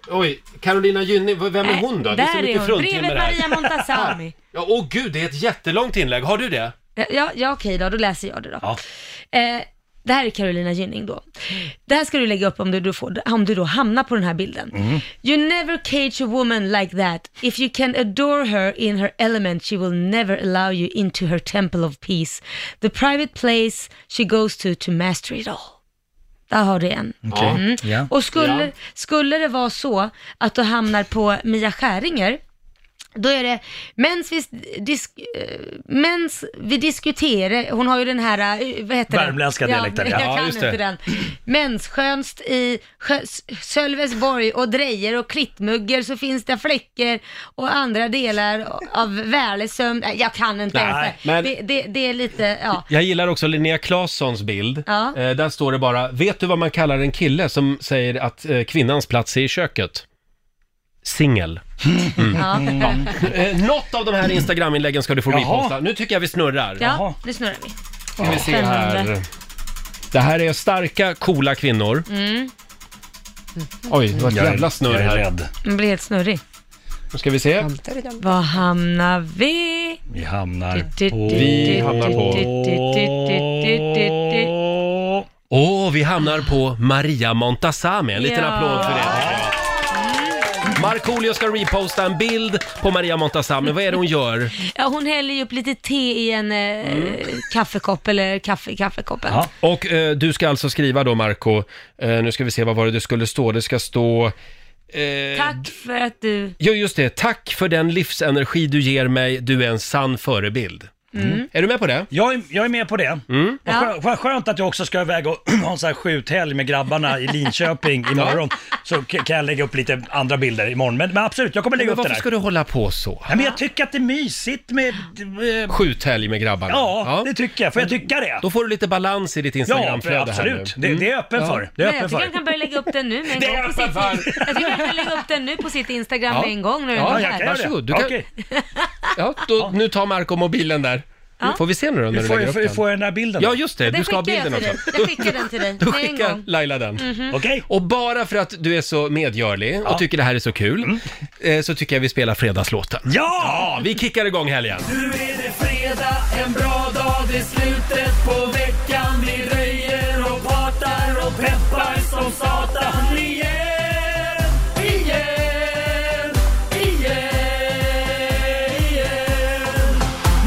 Oj, Carolina Gynning, v- vem är hon då? Det är så Där är mycket hon. fruntimmer Bredvid här. Maria Montazami. Ja, åh gud, det är ett jättelångt inlägg. Har du det? Ja, ja okej då, då läser jag det då. Ja. Eh, det här är Carolina Gynning då. Det här ska du lägga upp om du, du, får, om du då hamnar på den här bilden. You never cage a woman like that. If you can adore her in her element she will never allow you into her temple of peace. The private place she goes to to master it all. Där har du en. Okej. Mm. Ja. Och skulle, skulle det vara så att du hamnar på Mia Skäringer, då är det mens vi, disk, eh, mens vi diskuterar, hon har ju den här, eh, vad heter Värmländska det? dialekten, ja. ja. Ja, Jag kan just inte det. den. Mensskönt i Sjö- S- Sölvesborg och Drejer och Klittmugger så finns det fläckor och andra delar av Välersömn. Nej, Jag kan inte Nej, ens det. men- det, det. Det är lite, ja. Jag gillar också Linnea Claessons bild. Ja. Eh, där står det bara, vet du vad man kallar en kille som säger att eh, kvinnans plats är i köket? Singel. Mm. Ja, Eh, något av de här Instagram-inläggen ska du få Jaha. reposta. Nu tycker jag vi snurrar. Jaha. ja nu snurrar vi. Ska vi se här. Spännande. Det här är starka, coola kvinnor. Mm. Oj, det var ett Jag är- jävla snurr jag är här. rädd. Man blir helt snurrig. Nu ska vi se. Var hamnar vi? Vi hamnar Du, du, på... du, Vi hamnar på- du, du, du, du, du, du, du. Åh, vi hamnar på Maria Montazami. En liten Ja. Mm. applåd för det. tycker jag. Markoolio ska reposta en bild på Maria Montazami. Vad är det hon gör? Ja, hon häller ju upp lite te i en eh, Mm. kaffekopp eller kaffe i kaffekoppen. Ja. Och eh, du ska alltså skriva då, Marco. Eh, nu ska vi se, vad var det det skulle stå? Det ska stå... Eh, Tack för att du... Jo, just det. Tack för den livsenergi du ger mig. Du är en sann förebild. Mm. Mm. Är du med på det? Jag är, jag är med på det. Mm. Vad skö- vad skönt att jag också ska iväg och ha en sån här skjuthelg med grabbarna i Linköping imorgon. Så k- kan jag lägga upp lite andra bilder imorgon. Men, men absolut, jag kommer lägga Men upp det varför där. ska du hålla på så? Ja, men jag tycker att det är mysigt med... eh, Skjuthelg med grabbarna. Ja, det tycker jag. Får jag tycka det? Då får du lite balans i ditt Ja, Instagramflöde här nu. Mm. absolut. Det, det är jag öppen för. Det är Nej, jag jag öppen tycker han för. kan börja lägga upp den nu med en Det är gång. på jag sitt- för. Jag tycker han kan lägga upp den nu på sitt Instagram Ja. med en gång. När Ja, ja, jag här. kan. Varsågod, du kan- Okej. Ja, då, nu tar Marco mobilen där. Får vi se nu då när Hur du får, lägger jag- upp får, jag- den? får jag den här bilden då? Ja, just det. Den Du ska ha skickar jag bilden till också. dig. Jag skickar den till dig. Då med en skickar gång. Laila den. Mm. Okej. Och bara för att du är så medgörlig och tycker det här är så kul, eh, så tycker jag vi spelar fredagslåten. Ja! Ja, vi kickar igång helgen. Nu är det fredag, en bra dag, det är slutet på veckan. Vi röjer och partar och peppar som satan. Igen, igen, igen, igen.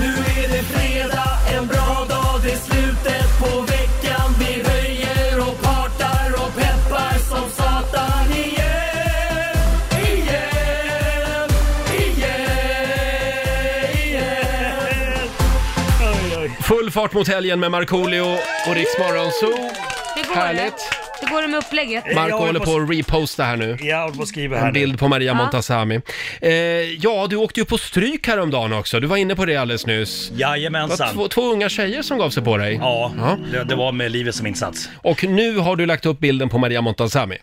Nu är det fredag, en bra dag, det är slutet på veckan. Vi röjer och partar och peppar som satan. Igen, igen, igen, igen. Oj, oj. Full fart mot helgen med Markoolio och Rix Morgonzoo. Hur går Härligt. det? Hur går det med upplägget? Marco Jag håller håller på- på att reposta här nu. Jag håller på att skriva här En nu. bild på Maria Ja. Montazami. Eh, ja, du åkte ju på stryk häromdagen också. Du var inne på det alldeles nyss. Det var Jajamensan. två, två unga tjejer som gav sig på dig. Ja, Ja. Det, det var med livet som insats. Och nu har du lagt upp bilden på Maria Montazami.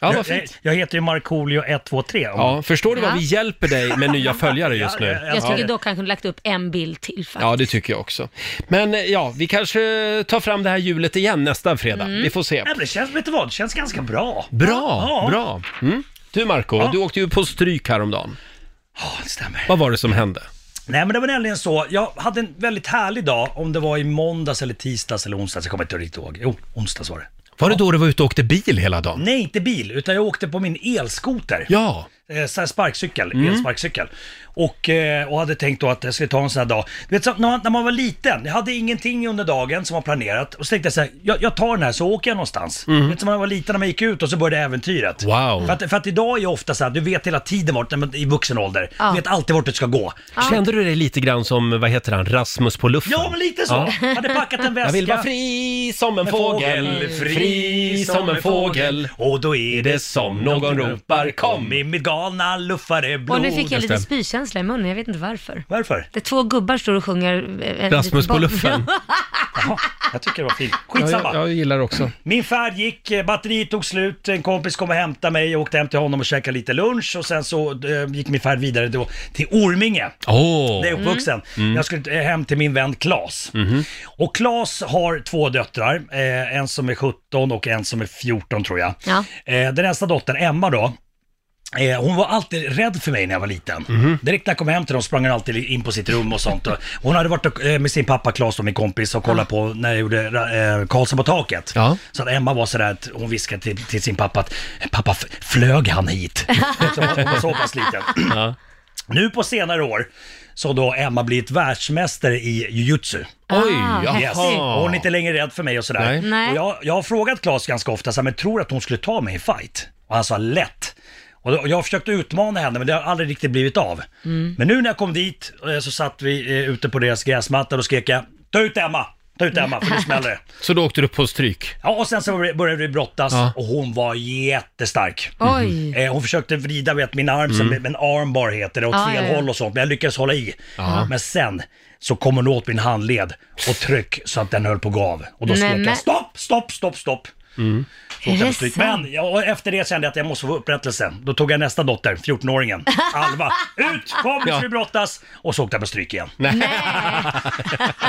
Ja, vad fint. Jag, jag heter ju Markoolio 123. Mm. Ja, förstår du vad Ja. vi hjälper dig med nya följare just nu? Jag tycker dock han kunde lagt upp en bild till faktiskt. Ja, det tycker jag också. Men eh, ja, vi kanske tar fram det här hjulet igen nästa fredag. Vi får se. Nej, men det känns, vet du vad, det känns ganska bra. Bra, Ja. bra. Mm. Du Marco, du åkte ju på stryk häromdagen. Ja, det stämmer. Vad var det som hände? Nej, men det var nämligen så, jag hade en väldigt härlig dag, om det var i måndags eller tisdags eller onsdags, jag kommer inte riktigt ihåg. Jo, onsdags var det. Var det då du var ute och åkte bil hela dagen? Nej, inte bil, utan jag åkte på min elskoter. Ja. Eh, så här sparkcykel, Mm. elsparkcykel. Och, eh, och hade tänkt då att jag skulle ta en sån här dag. Du vet, så, när, man, när man var liten, jag hade ingenting under dagen som var planerat. Och så tänkte jag så här, jag, jag tar den här så åker jag någonstans. Du Vet, som när man var liten, när man gick ut och så började äventyret. Mm. Wow. För att, för att idag är jag ofta så här, du vet hela tiden vart, när man- i vuxen ålder, du vet alltid vart du ska gå. Kände du dig lite grann som, vad heter han, Rasmus på luften? Ja, men lite så. Hade packat en väska. Jag vill vara fri som en En fågel, fri som en fågel. Och då är det som någon ropar kom i mitt galna luffareblod. Och nu fick jag lite det. spykänsla i munnen, jag vet inte varför. Varför? Det är två gubbar står och sjunger... eh, eh, Rasmus på barn- luffen. Jaha, jag tycker det var fint. Ja, Skitsamma. jag, jag gillar också. Min färd gick, eh, batteriet tog slut, en kompis kom och hämtade mig, jag åkte hem till honom och käkade lite lunch och sen så eh, gick min färd vidare då till Orminge. Åh! Där jag är uppvuxen. Mm. Jag skulle eh, hem till min vän Klas. Mm-hmm. Och Klas har två döttrar, eh, en som är 17 och en som är 14 tror jag. Ja. Eh, den äldsta dottern, Emma då, Eh, hon var alltid rädd för mig när jag var liten. Direkt när jag kom hem till dem sprang hon alltid in på sitt rum och sånt. Och Hon hade varit och, eh, med sin pappa Claes, då, min kompis, och kollat på när jag gjorde eh, Karlsson på taket. Ja. Så att Emma var sådär att hon viskade till, till sin pappa att pappa, f- flög han hit? Så hon var så pass liten. Nu på senare år så då Emma blivit världsmästare i jujutsu. Oj, Ah, jaha. Yes. Och hon är inte längre rädd för mig och sådär. Nej. Nej. Och jag, jag har frågat Claes ganska ofta, så här, men tror du att hon skulle ta mig i fight? Och han sa lätt. Och då- jag har försökt utmana henne men det har aldrig riktigt blivit av. Men nu när jag kom dit eh, så satt vi eh, ute på deras gräsmatta och skrek jag Ta ut Emma! Ta ut Emma för nu smäller det. Så då åkte du på stryk? Ja, och sen så började vi brottas Ja. och hon var jättestark. Mm. Oj. Eh, hon försökte vrida vet, min arm, som en armbar heter det, åt Ah, Ja, fel ja, ja. håll och sånt, men jag lyckades hålla i. Ja. Men sen så kom hon åt min handled och tryck så att den höll på att gå av. Och då Nej, skrek men- jag stopp, stopp, stopp, stopp. Så Mm. Är åkte jag det på stryk. sant? Men jag, och efter det kände jag att jag måste få upprättelse. Då tog jag nästa dotter, 14-åringen, Alva. Ut, kom Ja. så vi brottas! Och så åkte jag på stryk igen. Nej.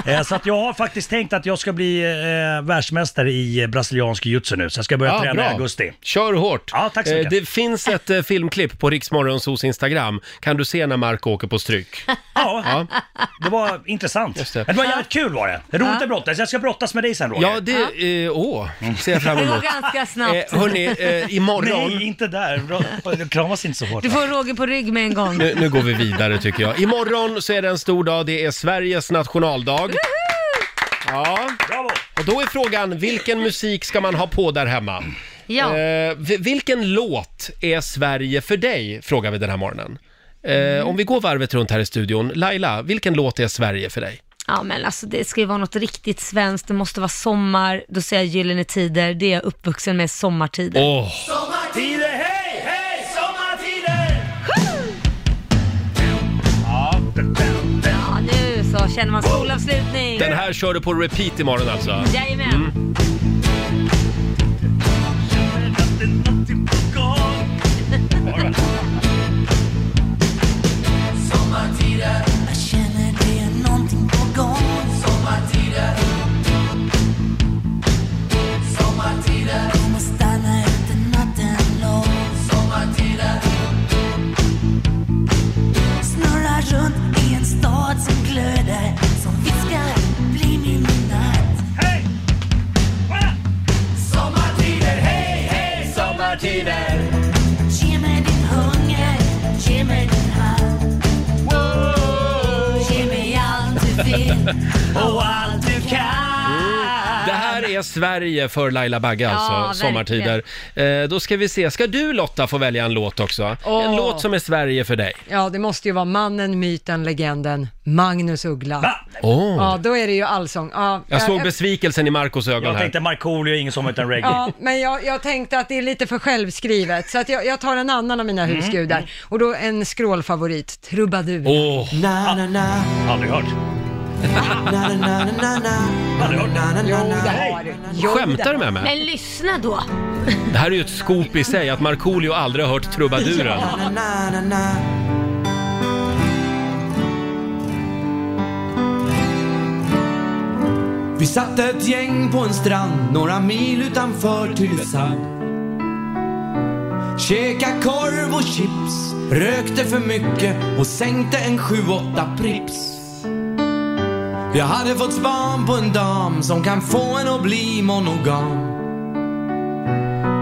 Eh, så att jag har faktiskt tänkt att jag ska bli eh, världsmästare i eh, brasiliansk jiu-jitsu nu, så jag ska börja träna i augusti. Kör hårt. Ja, tack så mycket. Eh, Det finns ett eh, filmklipp på Riksmorgonsos Instagram. Kan du se när Marco åker på stryk? Ja, Ja, det var intressant. Just det. det. var jävligt kul var det. Roligt att brottas. Jag ska brottas med dig sen Roger. ja det... eh, Åh, ser jag fram Det går emot. ganska Eh, snabbt. hörni, eh, Mm. Nej, imorgon... inte där. Bra- Kramas inte så hårt. Du får Roger på rygg med en gång. Nu, nu går vi vidare tycker jag. Imorgon så är det en stor dag. Det är Sveriges nationaldag. Ja, Bravo! och då är frågan vilken musik ska man ha på där hemma? Ja. Eh, vi- vilken låt är Sverige för dig? Frågar vi den här morgonen. Eh, Om vi går varvet runt här i studion. Laila, vilken låt är Sverige för dig? ja, men alltså det ska ju vara något riktigt svenskt. Det måste vara sommar. Då säger jag Gyllene Tider. Det är jag uppvuxen med, sommartider. Åh, Sommartider, hej, hej, sommartider! Ja, nu så känner man skolavslutning. den här kör du på repeat imorgon alltså. Jajamän. Snurrar runt i en stad som glöder Som viskar, bli min natt Hej! Sommartider, hej, hej, sommartider! Ge mig din hunger, ge mig din hand Ge mig allt du vill Och allt du kan! Det här är Sverige för Laila Bagge alltså, verkligen. sommartider. Eh, då ska vi se, ska du Lotta få välja en låt också? Åh. En låt som är Sverige för dig. Ja, det måste ju vara mannen, myten, legenden, Magnus Uggla. Va? Åh. Ja, då är det ju allsång. Ja, Jag såg jag- besvikelsen i Marcos ögon Jag här. tänkte Markoolio, ingen som utan reggae. Ja, men jag, jag tänkte att det är lite för självskrivet, så att jag, jag tar en annan av mina husgudar. Mm. Och då en skrålfavorit, Trubadur. Mm. Åh, Aldrig hört. Aldrig Mm. hört. Jo, det har du. Jo, skämtar du med mig? Men lyssna då. Det här är ju ett scoop i sig, att Markoolio aldrig har hört trubaduren. Vi satt ett gäng på en strand några mil utanför Tylösand. Käka korv och chips, rökte för mycket och sänkte en 7-8 prips. Jag hade fått span på en dam som kan få en att bli monogam.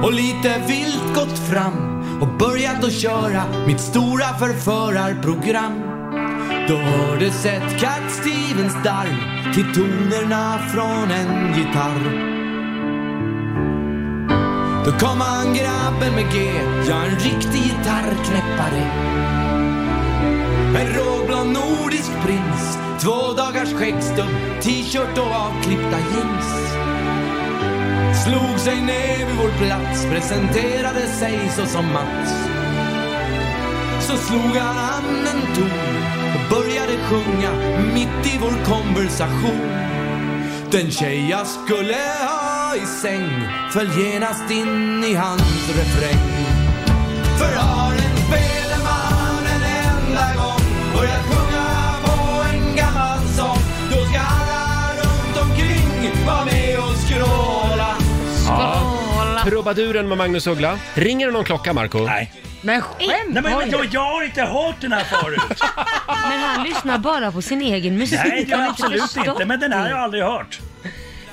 Och lite vilt gått fram och börjat att köra mitt stora förförarprogram. Då hördes ett Cat Stevens darr till tonerna från en gitarr. Då kom han grabben med G, ja en riktig gitarrknäppare. En råblond nordisk prins, två dagars skäggstubb, t-shirt och avklippta jeans. Slog sig ner vid vår plats, presenterade sig så som Mats. Så slog han an en ton och började sjunga mitt i vår konversation. Den tjej jag skulle ha i säng föll genast in i hans refräng. För har en spelman en enda gång börjat sjunga på en gammal sång då ska alla runt omkring vara med och skråla. Trubaduren med Magnus Uggla. Ringer det någon klocka, Marco? Nej. Men skämt! Nej, men Oj. jag, jag har inte hört den här förut. Men han lyssnar bara på sin egen musik. Nej, det har jag Han har absolut förstått inte. Men den här har jag aldrig hört.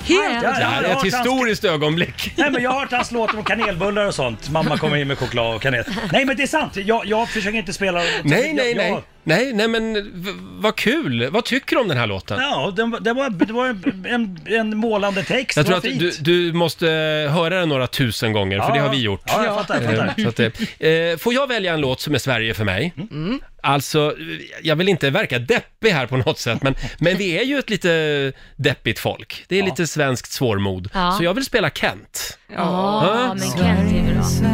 Helt. Jag har Det här aldrig är ett hört hans- historiskt ögonblick. Nej men jag har hört hans låt om kanelbullar och sånt. Mamma kommer in med choklad och kanel. Nej men det är sant. Jag, jag försöker inte spela... Nej, nej, jag, nej. Jag, Nej, nej men v- vad kul! Vad tycker du om den här låten? Ja, den var- det var, det var en, en, en målande text. Jag det tror var att fint. du, du måste eh, höra den några tusen gånger, för Ja, det har ja. vi gjort. Ja, jag fattar, jag Eh, fattar. Så att, eh, eh, får jag välja en låt som är Sverige för mig? Mm. Alltså, eh, jag vill inte verka deppig här på något sätt, men, men vi är ju ett lite deppigt folk. Det är lite svenskt svårmod. Ja. Så jag vill spela Kent. Ja, men Kent är bra.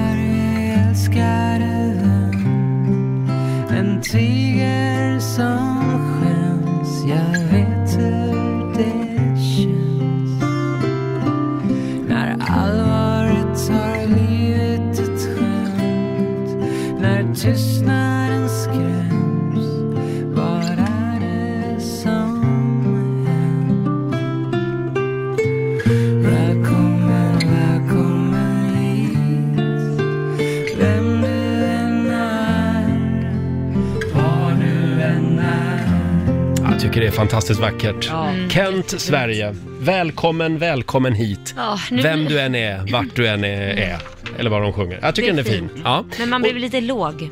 Jag tycker det är fantastiskt vackert. Mm. Kent, Sverige. Välkommen, välkommen hit. Ja, nu- Mm. Vem du än är, vart du än är. är. Eller vad de sjunger. Jag tycker Det den är är fin. Ja. Men man blev lite låg.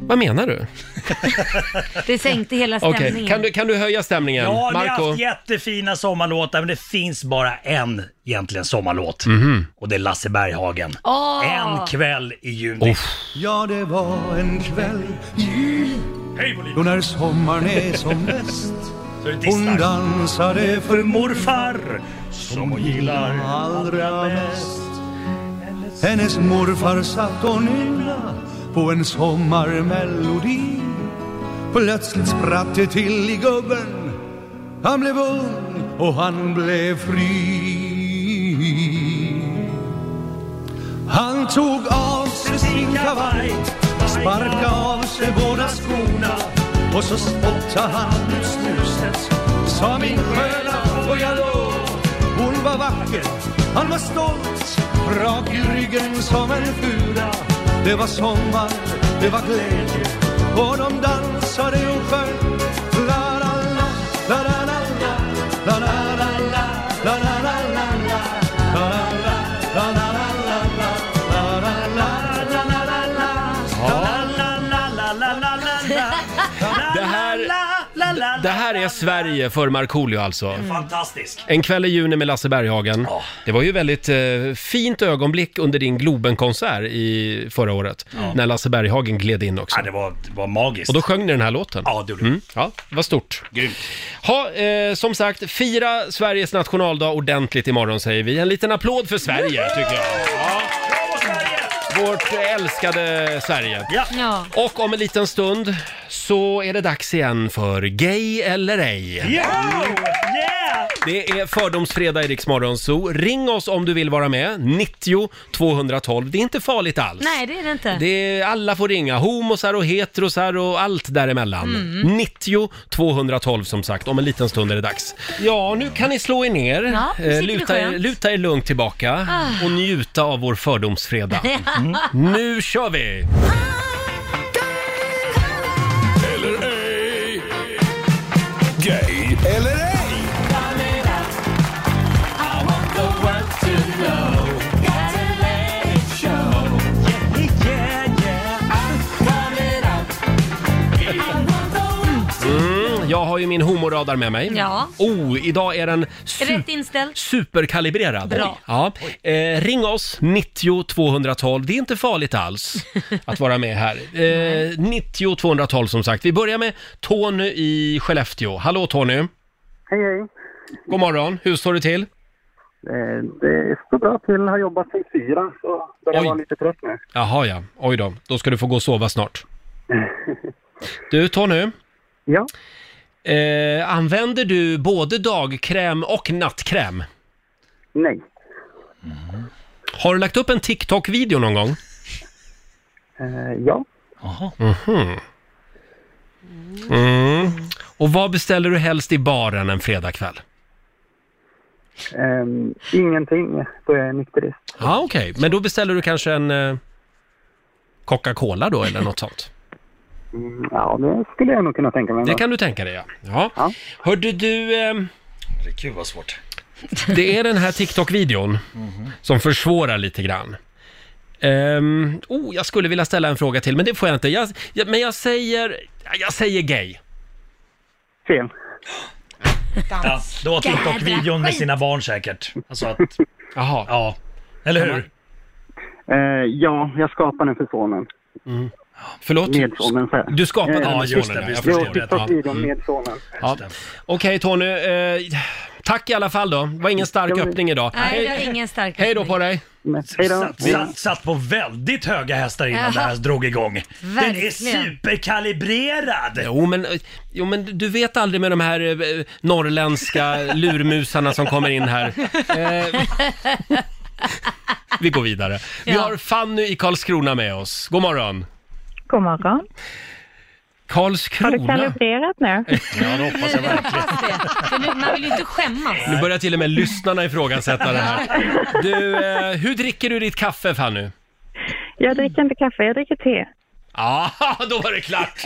Vad menar du? Det sänkte hela Okej, stämningen. kan, du, kan du höja stämningen? Ja, ni har Marco? haft jättefina sommarlåtar, men det finns bara en egentligen sommarlåt. Mhm. Och det är Lasse Berghagen. Åh! En kväll i juni. Ja, det var en kväll i juli Hej Bolin! då när sommaren är som bäst Så det Hon dissar. dansade för För morfar som hon gillar allra mest. hennes morfar satt och nynna på en sommarmelodi Plötsligt spratt det till i gubben Han blev ung och han blev fri Han tog av sig sin kavaj Sparka av sig båda skorna Och så spottade han ut snuset Sa min sköna och jag låg Hon var vacker, han var stolt Rak i ryggen som en fura Det var sommar, det var glädje Och de dansade och sjöng La la la, la la la la La la la la, la la la la la La la la, la la la la la La la la, la la la la Det här, det här är Sverige för Markoolio alltså. Mm. Fantastisk. En kväll i juni med Lasse Berghagen. Ja. Det var ju väldigt eh, fint ögonblick under din Globenkonsert i förra året. När Lasse Berghagen gled in också. Ja, det var, det var magiskt. Och då sjöng ni den här låten. Ja, det gjorde vi. Mm, ja, det var stort. Grymt. Ha, eh, som sagt, fira Sveriges nationaldag ordentligt imorgon säger vi. En liten applåd för Sverige tycker jag. Ja, Bravo Sverige! vårt älskade Sverige. Ja. Ja. Och om en liten stund så är det dags igen för Gay eller ej. Yeah! Yeah! Det är fördomsfredag i Rix Morgon Zoo. Ring oss om du vill vara med. 90 212. Det är inte farligt alls. Nej, det är det inte. Det är, alla får ringa, homosar och heterosar och allt däremellan. Mm. 90 212 som sagt, om en liten stund är det dags. Ja, nu kan ni slå er ner, Eh, Ja, nu sitter vi luta, er, skönt. Ah. luta er lugnt tillbaka och njuta av vår fördomsfredag. Nu kör vi! Eller ej. Gay eller ej. Jag har ju min homoradar med mig. Ja. Oh, idag är den super... Rätt inställd. Superkalibrerad. Bra. Ja. Eh, ring oss, 90 212. Det är inte farligt alls att vara med här. Eh, 90 212 som sagt. Vi börjar med Tony i Skellefteå. Hallå Tony! Hej, hej. God morgon, hur står det till? Eh, Det står bra till. Har jobbat sen fyra, så börjar Oj. vara lite trött nu. Jaha ja, oj då. Då ska du få gå och sova snart. Du Tony, Ja. eh, använder du både dagkräm och nattkräm? Mm. Nej. Har du lagt upp en TikTok-video någon gång? Eh, Ja. Mhm. Mm. Och vad beställer du helst i baren en fredagkväll? Ehm, Ingenting, då jag är nykterist. Ja, okej. Men då beställer du kanske en eh, Coca-Cola då, eller något sånt? Mm, Ja, det skulle jag nog kunna tänka mig. Det ändå. kan du tänka dig, ja. ja. Ja. Hörde du, eh, Herregud vad svårt. det är den här TikTok-videon som försvårar lite grann. Ehm, oh, jag skulle vilja ställa en fråga till, men det får jag inte. Jag, jag, men jag säger, jag säger gay. Fel. Ja, då åt Jävla TikTok-videon med skit. sina barn säkert. Alltså att... Jaha. Ja. Eller hur? Eh, ja, jag skapade den för sonen. Förlåt? Med sonen, säger jag. Du skapade Eh, den med just sonen, det, ja, jag jo, typ förstår det. TikTok-videon Ja, mm. med sonen. Ja. Okej Tony, eh, tack i alla fall då. Det var ingen stark öppning idag. Nej, det var ingen stark Hej då på dig! Satt, satt, satt på väldigt höga hästar innan Jaha. det här drog igång. Den är Verkligen. superkalibrerad! Jo men, jo men du vet aldrig med de här eh, norrländska lurmusarna som kommer in här. Eh, vi går vidare. Vi Ja. har Fanny i Karlskrona med oss. God morgon! God morgon. Har du Karlskrona? kalibrerat nu? Ja, det hoppas jag verkligen. För nu, man vill ju inte skämmas. Nu börjar till och med lyssnarna ifrågasätta det här. Du, eh, hur dricker du ditt kaffe Fanny? Jag dricker inte kaffe, jag dricker te. Ja, då var det klart!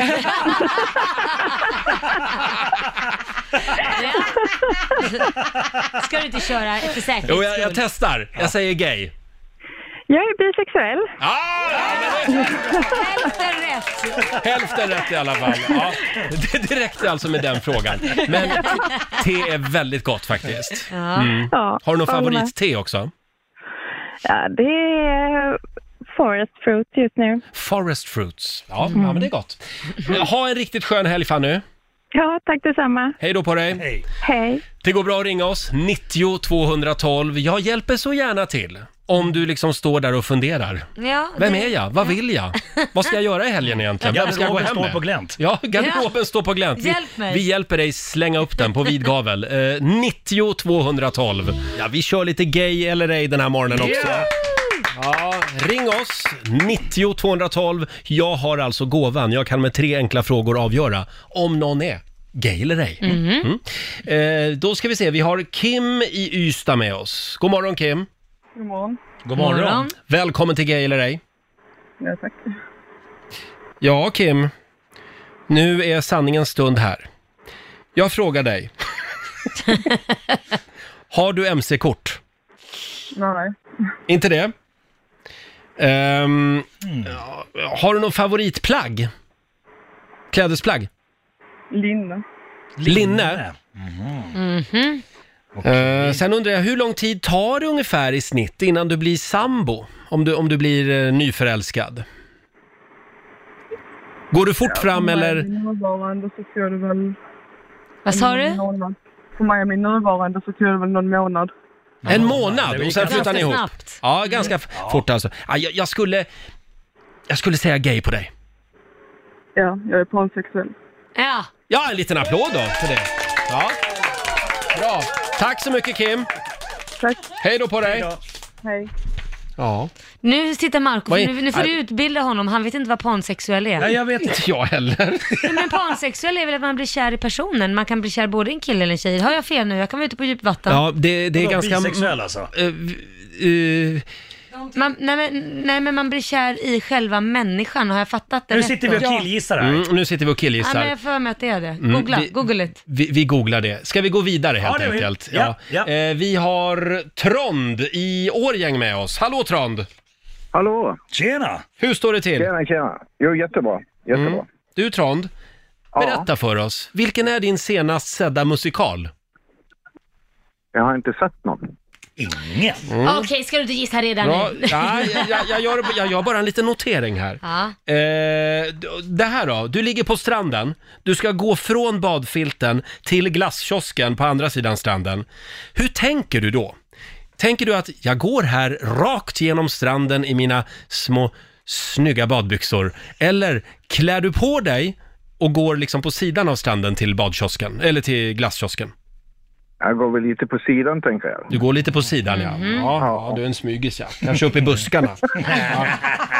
Ska du inte köra för säkerhets Jo, jag, jag skull? testar. Jag säger gay. Ah! Jag är bisexuell. Hälften rätt! Hälften rätt i alla fall. Ja, det, det räckte alltså med den frågan. Men te är väldigt gott faktiskt. Ja. Mm. Ja, Har du någon håller med. favoritte också? Ja, det är forest fruit just nu. Forest fruits. Ja, Mm. ja men det är gott. Ha en riktigt skön helg Fanny. Ja, tack detsamma. Hej då på dig. Hej. Det går bra att ringa oss, 90 212. Jag hjälper så gärna till om du liksom står där och funderar. Ja, Vem det- är jag? Vad vill jag? Vad ska jag göra i helgen egentligen? Vem ska jag gå Garderoben hem står med? på glänt. Ja, garderoben står på glänt. Vi, Hjälp mig. vi hjälper dig slänga upp den på vid gavel. Eh, 90 212. Ja, vi kör lite gay eller ej den här morgonen också. Ja, ring oss, 90 212. Jag har alltså gåvan. Jag kan med tre enkla frågor avgöra om någon är gay eller ej. Mhm. Mm. Eh, då ska vi se, vi har Kim i Ystad med oss. God morgon Kim! God morgon. God morgon. Morgon. Välkommen till Gay eller ej. Ja, tack. Ja, Kim. Nu är sanningens stund här. Jag frågar dig. har du mc-kort? Nej. Inte det? Ehm, ja, Har du någon favoritplagg? Klädesplagg? Linda. Linne? Mhm. Eh, sen undrar jag, hur lång tid tar det ungefär i snitt innan du blir sambo? Om du, om du blir eh, nyförälskad? Går du fort fram eller? Min nuvarande så tog det väl... Vad sa en du? månad. För mig och min nuvarande så tog det väl någon månad. En månad och sen ganska flyttar ni ihop? snabbt. Ja, ganska f- fort alltså. Ja, jag, jag, skulle, jag skulle säga gay på dig. Ja, jag är pansexuell. Ja. Ja, en liten applåd då för det. Ja. Bra. Tack så mycket Kim. Tack. Hej då på dig. Hej. Ja. Nu sitter Marco, Vad är- för nu, nu får du Nej. utbilda honom. Han vet inte vad pansexuell är. Inte jag heller. Nej, men pansexuell är väl att man blir kär i personen. Man kan bli kär både i en kille eller en tjej. Har jag fel nu? Jag kan vara ute på djupt vatten. Ja, det, det är Vadå, ganska... bisexuell alltså? Eh, vi- eh, Man, nej, men, nej, men man blir kär i själva människan. Har jag fattat det Nu rätt sitter då? vi och killgissar här. mm, nu sitter vi och Ja, men killgissar. jag får mig att det är det. Mm, Googla, vi- google it. Vi, vi googlar det. Ska vi gå vidare helt det gör vi. enkelt? Ja, Eh, vi har Trond i Årjäng med oss. Hallå Trond! Hallå! Tjena! Hur står det till? Tjena, tjena. Jo, jättebra. Jättebra. Mm. Du Trond, berätta för oss. Vilken är din senast sedda musikal? Jag har inte sett någon. Ingen? Okej, ska du inte gissa redan Mm. Bra. nu? Ja, jag, jag, gör, jag gör bara en liten notering här. Ja. Eh, d- det här då, du ligger på stranden, du ska gå från badfilten till glasskiosken på andra sidan stranden. Hur tänker du då? Tänker du att jag går här rakt genom stranden i mina små snygga badbyxor? Eller klär du på dig och går liksom på sidan av stranden till badkiosken, eller till glasskiosken? Jag går väl lite på sidan, tänker jag. Du går lite på sidan ja. ja. Mhm. Ja, du är en smygis ja. Kanske upp i buskarna. Ja.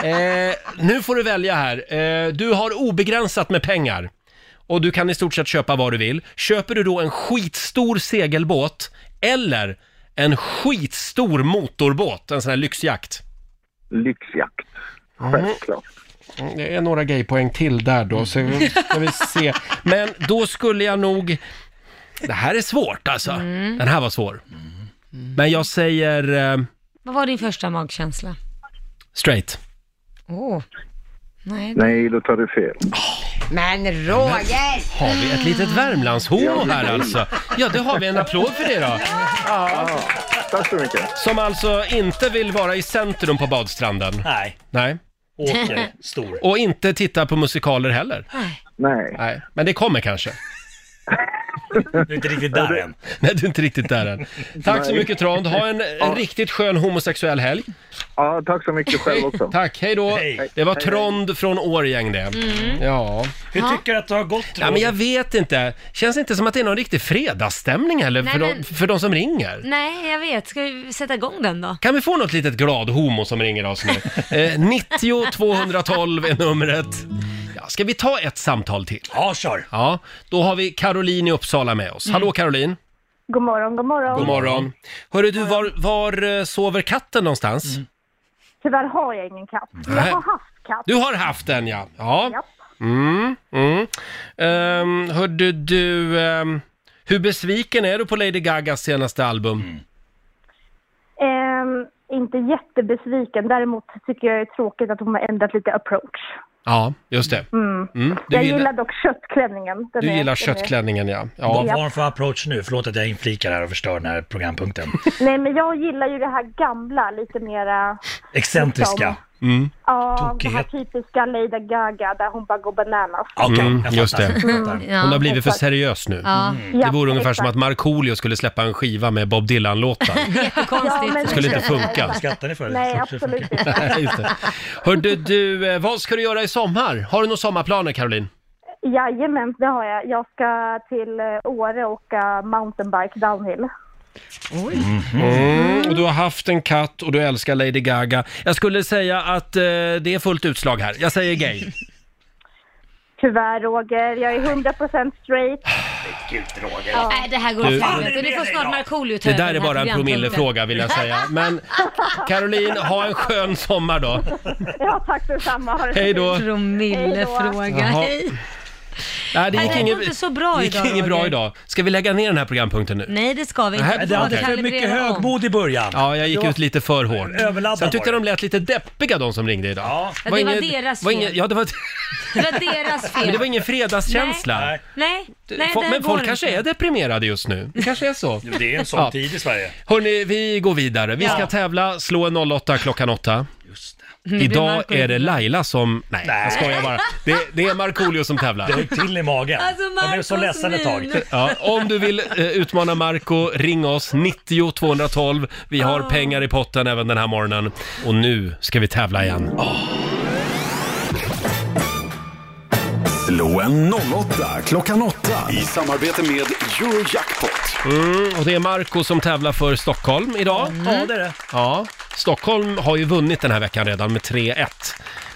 Eh, nu får du välja här. Eh, du har obegränsat med pengar. Och du kan i stort sett köpa vad du vill. Köper du då en skitstor segelbåt eller en skitstor motorbåt, en sån här lyxjakt? Lyxjakt. Självklart. Mm, Det är några gaypoäng till där då, så ska vi se. Men då skulle jag nog... Det här är svårt alltså. Mm. Den här var svår. Men jag säger... Eh... Vad var din första magkänsla? Straight. Åh. Nej. Nej, då tar du fel. Men Roger! Har vi ett litet Värmlandshomo här alltså? Ja, det har vi. En applåd för det då. Tack så mycket. Som alltså inte vill vara i centrum på badstranden. Nej. Nej. Åker stor. Och inte titta på musikaler heller. Nej. Nej. Men det kommer kanske. Du är inte riktigt där än. Nej, du är inte riktigt där än. Tack så Nej. mycket Trond. Ha en, en Ja. riktigt skön homosexuell helg. Ja, tack så mycket själv också. Tack, hej då. Hej. Det var Hej, Trond från Årjäng det. Mm. Ja. Hur tycker du att det har gått ja, men jag vet inte. Känns inte som att det är någon riktig fredagsstämning heller Nej, för, men- de, för de som ringer. Nej, jag vet. Ska vi sätta igång den då? Kan vi få något litet glad homo som ringer oss nu? Eh, 90 212 är numret. Ja, ska vi ta ett samtal till? Ja, kör. Ja, då har vi Caroline i Uppsala med oss. Hallå Caroline, Mm. God morgon, god morgon. god morgon. Hörru du, var, var eh, sover katten någonstans? Mm. Tyvärr har jag ingen katt. Men Nej. Jag har haft katt. Du har haft den ja. Ja. Japp. Mm, mm. Um, hörde du, ehm, hur besviken är du på Lady Gagas senaste album? Mm. Ehm, inte jättebesviken, däremot tycker jag det är tråkigt att hon har ändrat lite approach. Ja, just det. Mm. Mm. Jag Du gillar, gillar, dock köttklänningen. Den du är- gillar den köttklänningen ja. Vad ja. har hon för approach nu? Förlåt att jag inflikar här och förstör den här programpunkten. Är... Nej, men jag gillar ju det här gamla, lite mera... Excentriska. Mm. Ja, det här Tokighet. typiska Lady Gaga där hon bara går bananas. Okej, jag fattar. Mm, just det. Jag fattar. Ja. Hon har blivit för exakt. seriös nu. Ja. Det vore ungefär som att Markoolio skulle släppa en skiva med Bob Dylan-låtar. Konstigt. men- Det skulle inte funka. Skrattar ni för det? Nej, Så- så- absolut inte. Nej, just det. Hörde du, eh, vad ska du göra i sommar? Har du några sommarplaner Caroline? Jajamän, det har jag. Jag ska till eh, Åre och åka mountainbike downhill. Mm, och du har haft en katt och du älskar Lady Gaga. Jag skulle säga att eh, det är fullt utslag här. Jag säger gay. Tyvärr Roger, jag är 100% straight. Gud, Roger. Nej, det här går Du- åt helvete. Du får snart Markoolio ta Det över där är den Typ, här bara en programpunkten. promillefråga vill jag säga. Men Caroline, ha en skön sommar då. Ja, tack detsamma. Ha det så Hej fint. då. Promillefråga. Jaha. Hej. Nej, det gick Nej, det inget, var inte så bra det gick idag, inget bra Roger. idag. Ska vi lägga ner den här programpunkten nu? Nej, det ska vi Nej, inte. Det hade för mycket Kalibrera om. högmod i början. Ja, jag gick Ja. ut lite för hårt. Överladdad Sen tyckte var de lät lite deppiga de som ringde idag. Ja. Ja, det var deras var inget, fel. Ja, det var, Det var deras fel. men det var ingen fredagskänsla. Nej, Nej, Fo- nej, det här men går folk inte. kanske är deprimerade just nu. Det kanske är så. det är en sån Ja. tid i Sverige. Hörni, vi går vidare. Vi ska Ja. tävla, slå en 08 klockan 8. Just det. blir Idag Mm, Marco är det glad. Laila som... Nej, Nej. jag skojar bara. Det, det är Markoolio som Det tävlar. högg till i magen. Alltså, jag blev så Marcos ledsen ett tag. min. Ja, om du vill eh, utmana Marco, ring oss 90 212. Vi har pengar i potten även den här morgonen. Och nu ska vi tävla igen. Slå en 08 klockan 8 i samarbete med Eurojackpot. Mm, och det är Marco som tävlar för Stockholm idag. Ja, det är det. Ja, Stockholm har ju vunnit den här veckan redan med 3-1.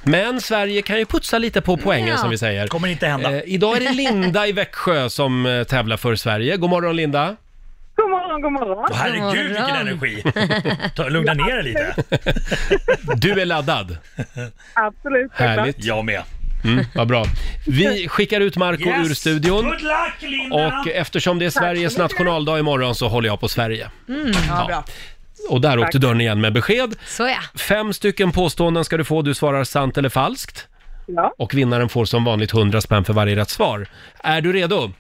Men Sverige kan ju putsa lite på poängen Ja. som vi säger. kommer inte hända. Eh, idag är det Linda i Växjö som eh, tävlar för Sverige. God morgon Linda! God morgon, god morgon. Åh, herregud vilken Morgon. energi! Ta, lugna ner dig lite. Du är laddad. Absolut. Härligt. Jag med. Mm, vad bra. Vi skickar ut Marco ur studion. Good luck Linda! Och eftersom det är Sveriges nationaldag imorgon så håller jag på Sverige. Ja, bra. Och där åkte dörren igen med besked. Så ja. Fem stycken påståenden ska du få. Du svarar sant eller falskt. Ja. Och vinnaren får som vanligt 100 spänn för varje rätt svar. Är du redo?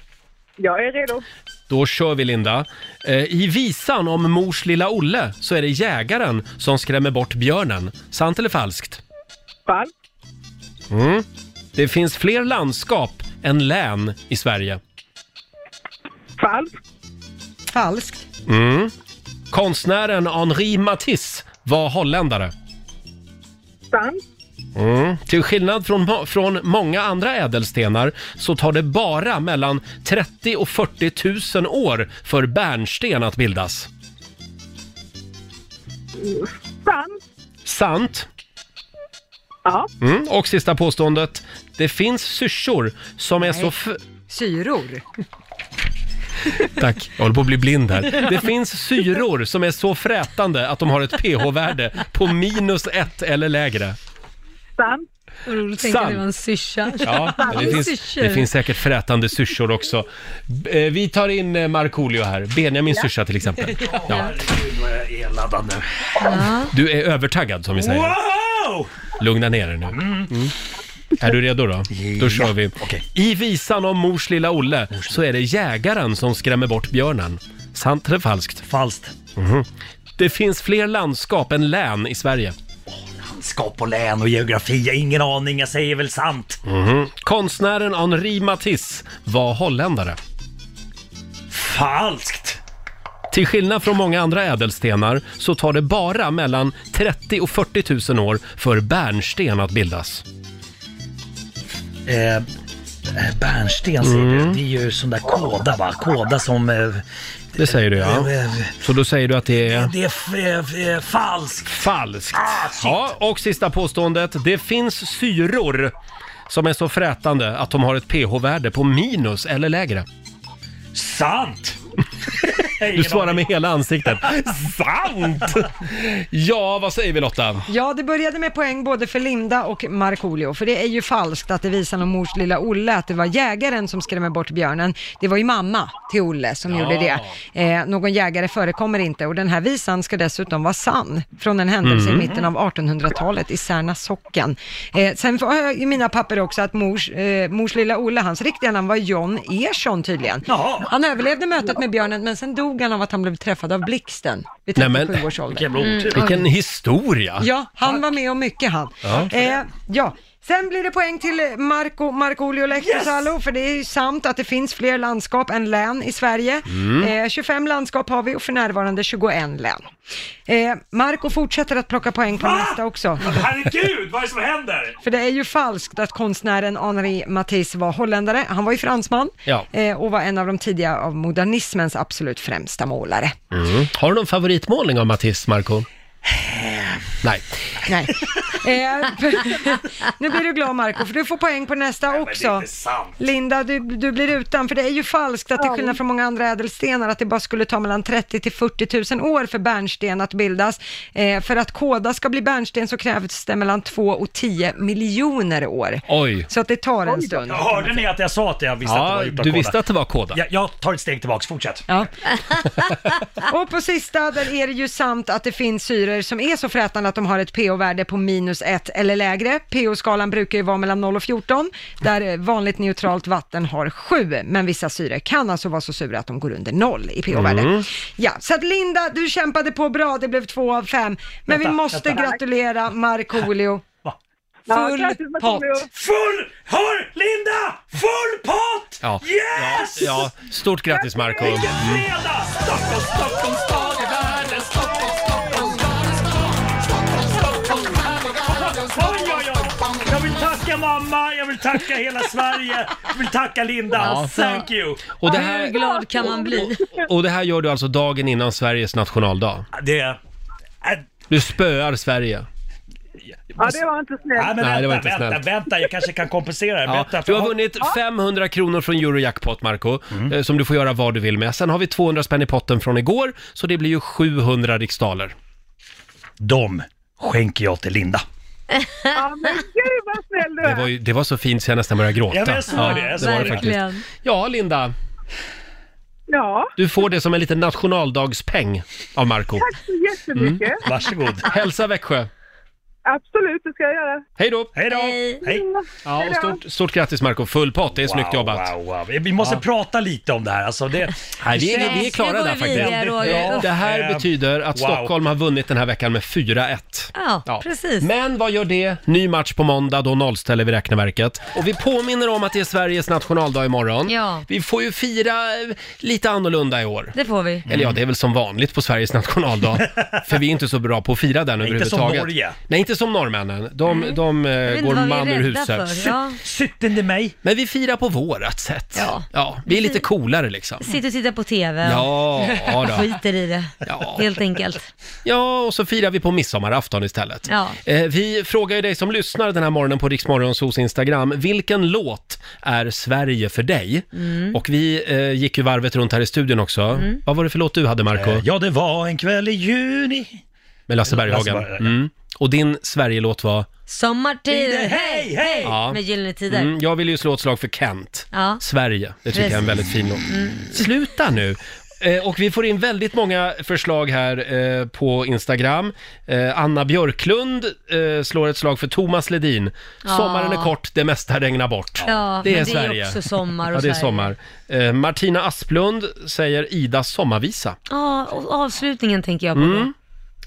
Jag är redo. Då kör vi Linda. Eh, I visan om mors lilla Olle så är det jägaren som skrämmer bort björnen. Sant eller falskt? Falskt. Mm. Det finns fler landskap än län i Sverige. Falskt. Falskt. Mm. Konstnären Henri Matisse var holländare. Sant. Mm. Till skillnad från, mo- från många andra ädelstenar så tar det bara mellan 30 och 40 000 år för bärnsten att bildas. Sant. Sant. Ja. Mm. Och sista påståendet. Det finns syrsor som är så... F- Syror. Tack, jag håller på att bli blind här. Det finns syror som är så frätande att de har ett pH-värde på minus ett eller lägre. Sant. Roligt tänker Sant. det var tänker det var en syrsa. Ja, men det, finns, det finns säkert frätande syrsor också. B- eh, Vi tar in eh, Markoolio här, Benjamin syrsa till exempel. Ja. Herregud vad jag är laddad nu. Du är övertaggad som vi säger. Wow! Lugna ner er nu. Mm. Är du redo då? Då kör vi. I visan om mors lilla Olle så är det jägaren som skrämmer bort björnen. Sant eller falskt? Falskt. Det finns fler landskap än län i Sverige. Landskap och län och geografi, jag har ingen aning, jag säger väl sant. Mhm. Konstnären Henri Matisse var holländare. Falskt! Till skillnad från många andra ädelstenar så tar det bara mellan 30 och 40 000 år för bärnsten att bildas. Eh, eh, bärnsten säger Mm. du, det är ju sån där kåda va? Kåda som... Eh, Det säger du ja. Så då säger du att det är... det är f- eh, f- falskt. Falskt. Ja, och sista påståendet. Det finns syror som är så frätande att de har ett pH-värde på minus eller lägre. Sant! Du svarar med hela ansiktet. Sant! Ja, vad säger vi Lotta? Ja, det började med poäng både för Linda och Markoolio, för det är ju falskt att det visar om mors lilla Olle, att det var jägaren som skrämmer bort björnen. Det var ju mamma till Olle som Ja. gjorde det. Eh, någon jägare förekommer inte och den här visan ska dessutom vara sann, från en händelse Mm. i mitten av 1800-talet i Särna socken. Eh, sen har jag i mina papper också att mors, eh, mors lilla Olle, hans riktiga namn var John Ersson tydligen. Han överlevde mötet med björnen, men sen dog han av att han blev träffad av blixten vid 37 års ålder. Mm. vilken historia! Ja, han var med om mycket han. Ja. Eh, ja. Sen blir det poäng till Marco, Markoolio Lehtosalo, för det är ju sant att det finns fler landskap än län i Sverige. Mm. Eh, 25 landskap har vi och för närvarande 21 län. Eh, Marco fortsätter att plocka poäng på nästa också. Herregud, vad är det som händer? För det är ju falskt att konstnären Henri Matisse var holländare. Han var ju fransman Ja. eh, och var en av de tidiga av modernismens absolut främsta målare. Mm. Har du någon favoritmålning av Matisse, Marco? Nej. Nej. Eh, nu blir du glad Marco för du får poäng på nästa också. inte sant. Linda, du, du blir utan, för det är ju falskt att till skillnad från många andra ädelstenar att det bara skulle ta mellan 30 till 40 000 år för bärnsten att bildas. Eh, för att kåda ska bli bärnsten så krävs det mellan 2 och 10 miljoner år. Oj. Så att det tar en stund. Jag hörde ni att jag sa att jag visste Ja, att det var gjort av du kåda? visste att det var kåda. Jag, jag tar ett steg tillbaks, fortsätt. Ja. Och på sista, där är det ju sant att det finns syror som är så frätande att de har ett pH-värde på minus 1 eller lägre. pH-skalan brukar ju vara mellan 0 och 14, där eh, vanligt neutralt vatten har 7, men vissa syror kan alltså vara så sura att de går under 0 i pH-värde. Mm. Ja, så att Linda, du kämpade på bra, det blev 2 av 5, men Vänta, vi måste vänta. gratulera Markoolio. Ja, Full grattis, pott. Markoolio. Full, hör Linda! Full pott! Ja. Yes! Ja, ja. Stort grattis, Marco. Mm. Stockholm, Stockholm, stad i världen, Stockholm, Stockholm, stad i stad. Oj, oj, oj! Jag vill tacka mamma, jag vill tacka hela Sverige, jag vill tacka Linda. Ja. Thank you! Och det här- Hur glad kan man bli? Och det här gör du alltså dagen innan Sveriges nationaldag? Det... äh, Du spöar Sverige. Ja, det var inte snällt. Nej, men Nej, det var vänta, inte vänta, snällt. vänta, jag kanske kan kompensera det. Ja, Vänta, du har för- vunnit 500 kronor från Eurojackpot, Marco, eh, som du får göra vad du vill med. Sen har vi 200 spänn i potten från igår, så det blir ju 700 riksdaler. De skänker jag till Linda. Ja, men gud vad snäll du Det är. var, ju, det var så fint så jag nästan började gråta. Ja, men jag såg det, jag såg var det. faktiskt. Ja, Linda, Ja, du får det som en liten nationaldagspeng av Marco. tack så Mm. jättemycket. Hälsa Växjö. Absolut, det ska jag göra. Hej då! Hej då! Hej! Ja, och stort, stort grattis Marco, full pott, det är snyggt Wow, jobbat. wow, wow. Vi måste Ja. prata lite om det här. Alltså det, Nej, vi, är, vi är Nej, nu klara går där vi faktiskt. vidare, Roger. Ja, Uff. Det här Eh, betyder att Ehm, wow. Stockholm har vunnit den här veckan med 4-1. Ja, precis. Men vad gör det? Ny match på måndag, då nollställer vi räkneverket. Och vi påminner om att det är Sveriges nationaldag imorgon. Ja. Vi får ju fira eh, lite annorlunda i år. Det får vi. Eller ja, det är väl som vanligt på Sveriges nationaldag. För vi är inte så bra på att fira den inte som överhuvudtaget. Norge. Mm. Nej, inte som norrmännen. De, Nej. de eh, vet inte går vad vi är man ur rädda huset. för, ja. Syttende mig. Men vi firar på vårat sätt. Ja. vi är lite coolare liksom. Sitter och tittar på TV. Ja, ja då. Skiter i det, helt enkelt. Ja, och så firar vi på midsommarafton istället. Ja. Eh, vi frågar ju dig som lyssnar den här morgonen på Riksmorgonsos Instagram, vilken låt är Sverige för dig? Mm. Och vi eh, gick ju varvet runt här i studion också. Vad var det för låt du hade, Marco? Eh, Ja, det var en kväll i juni. Med Lasse Berghagen. Berghagen, ja. mm. Och din Sverigelåt var? Sommartider, hej, hej! Ja. Med Gyllene Tider. Mm, jag vill ju slå ett slag för Kent. Ja. Sverige, det tycker jag är en Precis. väldigt fin låt. Mm. Sluta nu! Eh, Och vi får in väldigt många förslag här eh, på Instagram. Eh, Anna Björklund eh, slår ett slag för Thomas Ledin. Ja. Sommaren är kort, det mesta regnar bort. Ja, det är men det är Sverige. också sommar och ja, det är Sverige. sommar. Eh, Martina Asplund säger Idas sommarvisa. Ja, och avslutningen tänker jag på Mm,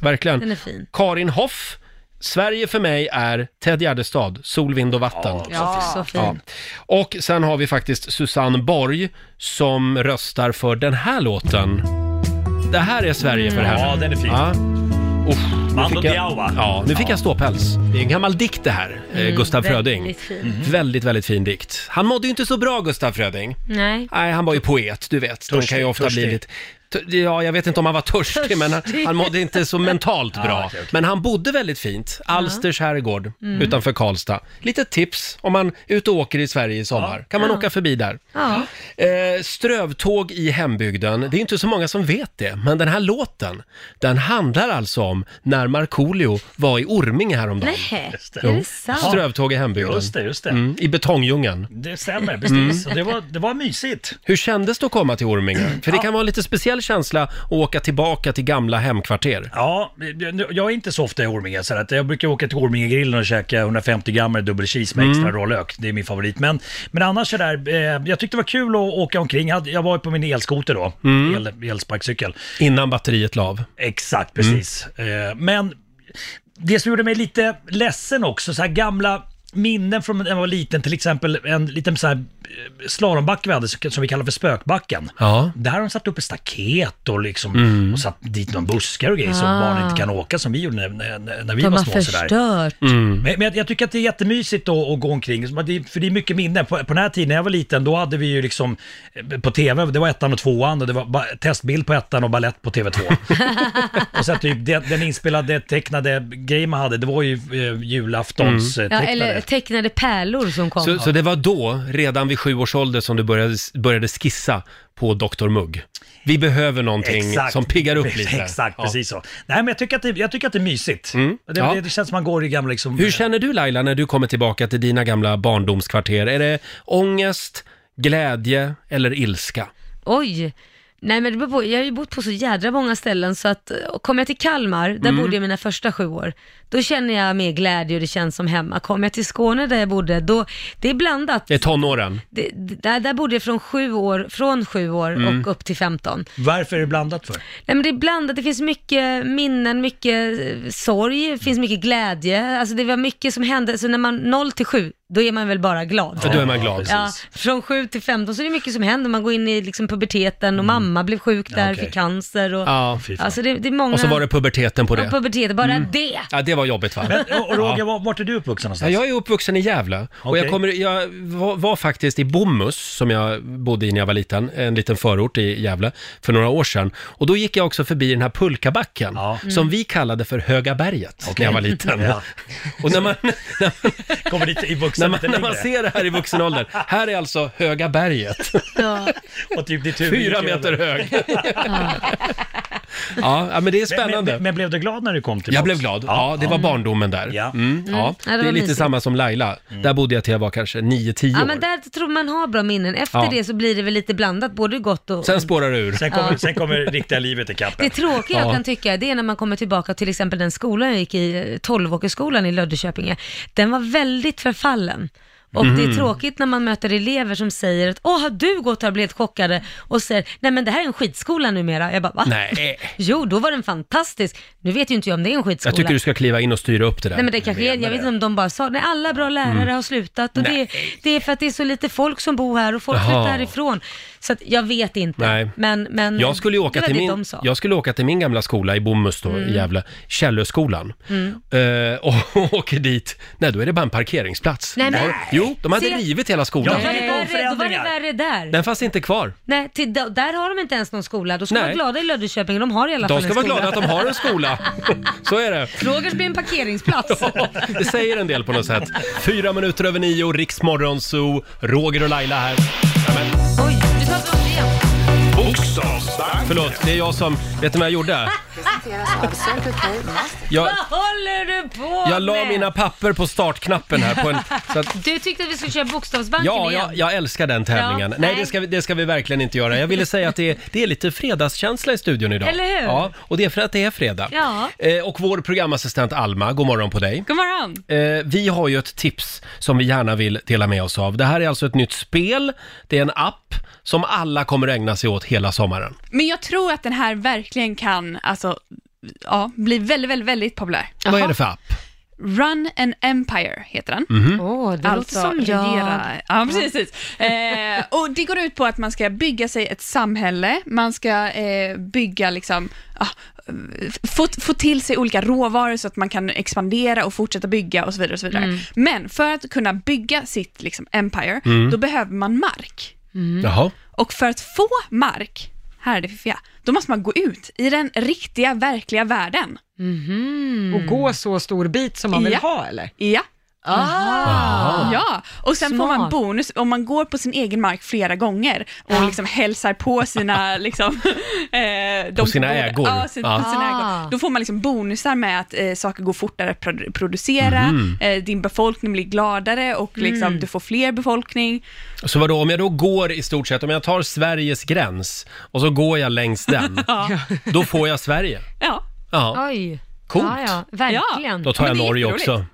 verkligen. Den är fin. Karin Hoff, Sverige för mig är Ted Gärdestad, sol, vind och vatten. då. Ja, så fin. Och sen har vi faktiskt Susanne Borg som röstar för den här låten. Det här är Sverige för Mm. henne. Ja, den är fin. Ja. Usch, nu Mando fick jag- Diao, va? Ja, nu fick Ja. jag ståpäls. Det är en gammal dikt det här, eh, Mm, Gustaf Fröding. väldigt fin. Mhm. Väldigt, väldigt fin dikt. Han mådde ju inte så bra, Gustaf Fröding. Nej. Nej, han var ju poet, du vet. De Törstig, kan ju ofta törstig. bli lite... T- Ja, jag vet inte om han var törstig, Törstig. men han, han mådde inte så mentalt bra. Ja, okej, okej. Men han bodde väldigt fint. Alsters herrgård Mm. utanför Karlstad. Lite tips om man är ute och åker i Sverige i sommar. Kan man Ja. åka förbi där. Ja. Eh, strövtåg i hembygden. Det är inte så många som vet det, men den här låten, den handlar alltså om när Markoolio var i Orminge häromdagen. Nej, Jo. är det sant? Strövtåg i hembygden. Just det, just det. Mm, I betongdjungeln. Det stämmer, precis. Mm. Och Det, var, det var mysigt. Hur kändes det att komma till Orminge? För det kan vara en lite speciell känsla att åka tillbaka till gamla hemkvarter. Ja, jag- jag är inte så ofta i Orminge. Så att jag brukar åka till Ormingegrillen och käka 150 gram med dubbel cheese med extra Mm. rå lök. Det är min favorit. Men, men annars så där, eh, jag tyckte det var kul att åka omkring. Jag hade- Jag var ju på min elskoter då, Mm. el, elsparkcykel. Innan batteriet lav. Exakt, precis. Eh, men det som gjorde mig lite ledsen också, så här gamla minnen från när jag var liten, till exempel en liten så här eh, slalombacke vi hade som vi kallar för spökbacken. Ja. Där har de satt upp ett staket och, liksom, Mm. och satt dit någon buskar och grejer som Ah. barn inte kan åka som vi gjorde när, när, när vi De var har små. sådär. förstört. Mm. Men, men jag, jag tycker att det är jättemysigt att, att gå omkring, som att det- för det är mycket minnen. På, på den här tiden när jag var liten, då hade vi ju liksom eh, på TV, det var ettan och tvåan och det var ba, testbild på ettan och ballett på TV2. och sen typ det, den inspelade tecknade grejen man hade, det var ju eh, julaftons Mm. mm. Ja, tecknade. eller tecknade pärlor som kom. Så, så det var då, redan vid sju års ålder, som du började, började skissa på Dr. Mugg. Vi behöver någonting som piggar upp lite. Exakt, Ja. Mm. precis så. Nej men jag tycker att det, jag tycker att det är mysigt. Det, Ja. det, det känns som man går i gamla liksom... Hur känner du Laila när du kommer tillbaka till dina gamla barndomskvarter? Är det ångest, glädje eller ilska? Oj! Nej men det beror på, jag har ju bott på så jädra många ställen så att och kommer jag till Kalmar, där Mm. bodde jag mina första sju år, då känner jag mer glädje och det känns som hemma. Kommer jag till Skåne där jag bodde, då, det är blandat. Det är tonåren. Det, det- där, där bodde jag från sju år, från sju år Mm. och upp till 15. Varför är det blandat för? Nej men det är blandat, det finns mycket minnen, mycket eh, sorg, det finns mycket glädje. Alltså det var mycket som hände, så när man 0 till 7, då är man väl bara glad. Ja, då är man glad. Ja, precis. från 7 till 15 så är det mycket som händer, man går in i liksom puberteten och mamma blev sjuk där, Mm. okej. fick cancer och... Ja, fy fan. alltså det, det är många... Och så var det puberteten på Ja, det. puberteten, bara Mm. det! Ja, det var jobbigt va? Men, och, och Roger, Ja. var- vart är du uppvuxen Ja, någonstans? jag är uppvuxen i Gävle och jag, Okej. kommer, jag var, var faktiskt i Bomhus som jag bodde i när jag var liten, en liten förort i Gävle, för några år sedan. Och då gick jag också förbi den här pulkabacken som Mm. vi kallade för Höga berget när jag var liten. Ja. Och när man, Kommer dit i vuxen när man, lite när man längre. ser det här i vuxen ålder, här är alltså Höga berget, Och typ ditt huvud fyra gick meter över. hög. Ja, ja, men det är Men, spännande. men, men blev du glad när du kom tillbaka? Jag blev glad. Ja, det var barndomen där. Ja. Mm, ja. Ja, Det det var är lite mysigt. samma som Laila. Där bodde jag till jag var kanske 9-10 Ja år. men där tror man har bra minnen, efter Ja. det så blir det väl lite blandat, både gott och... Sen spårar det ur. Sen kommer, Ja. sen kommer riktiga livet ikapp. Det tråkiga jag Ja. kan tycka, det är när man kommer tillbaka till exempel den skolan jag gick i, eh, Tolvåkersskolan i Löddeköpinge. Den var väldigt förfallen. Och det Mhm. är tråkigt när man möter elever som säger att åh, har du gått här och blivit chockade? Och säger, nej men det här är en skitskola numera. Jag bara, va? Nej. Jo, då var den fantastisk. Nu vet ju inte jag om det är en skitskola. Jag tycker du ska kliva in och styra upp det där. Nej men det kanske är, jag vet inte om de bara sa, nej alla bra lärare Mm. har slutat och det, det är för att det är så lite folk som bor här och folk Jaha. flyttar härifrån. Så att jag vet inte. Nej. Men, men jag skulle, ju det åka var till det min, de sa. jag skulle åka till min gamla skola i Bomhus då, Mm. i Gävle, Källöskolan. Mm. Eh, och åker dit, nej då är det bara en parkeringsplats. Nej, men- Ja. Jo, de hade Se- rivit hela skolan. Då var det värre, då var det värre där. Eh, Den fanns inte kvar. Nej, till, då- där har de inte ens någon skola. Då ska Nej. vara glada i Löddeköping, de har i alla De fall ska en vara skola. glada att de har en skola. Så är det. Rogers blir en parkeringsplats. Det säger en del på något sätt. Fyra minuter över nio, Riksmorgon Zoo, Roger och Laila här. Nämen. Oj, du tar upp igen. Bokstavsbank. förlåt. Det är jag som... Vet du vad jag gjorde? Presenteras av Circle K Mastercard. Jag, Vad håller du på jag la med? mina papper på startknappen här på en... Så att, Du tyckte att vi skulle köra Bokstavsbanken ja, igen. jag, jag älskar den tävlingen. Ja, nej, nej. Det, ska vi, det ska vi verkligen inte göra. Jag ville säga att det är, det är lite fredagskänsla i studion idag. Eller hur? Ja, och det är för att det är fredag. Ja. Eh, och vår programassistent Alma, god morgon på dig. God morgon! Eh, vi har ju ett tips som vi gärna vill dela med oss av. Det här är alltså ett nytt spel. Det är en app som alla kommer ägna sig åt hela sommaren. Men jag tror att den här verkligen kan alltså, ja, bli väldigt, väldigt, väldigt populär. Vad är det för app? Run an Empire heter den. Mhm. Åh, det alltså låter som jag. regera. Ja, precis. precis. Eh, och det går ut på att man ska bygga sig ett samhälle, man ska eh, bygga liksom, ah, f- få, få till sig olika råvaror så att man kan expandera och fortsätta bygga och så vidare. Och så vidare. Mm. Men för att kunna bygga sitt liksom, empire, Mm. då behöver man mark. Jaha. Och för att få mark, här är det fiffiga, då måste man gå ut i den riktiga, verkliga världen. Och gå så stor bit som man vill Ja. ha eller? Ja. Ah. Ja, och sen får man Smart. bonus om man går på sin egen mark flera gånger och liksom hälsar på sina... Liksom, eh, de På som sina bor där. ägor. Ja, sin, Ja. på sina ägor. Då får man liksom bonusar med att eh, saker går fortare att produ- producera, Mhm. eh, din befolkning blir gladare och liksom, Mm. du får fler befolkning. Så vadå, om jag då går i stort sett, om jag tar Sveriges gräns och så går jag längs den, Ja. då får jag Sverige. Ja. Ja. Oj. Coolt. Ja, ja. Verkligen. Då tar jag Norge också.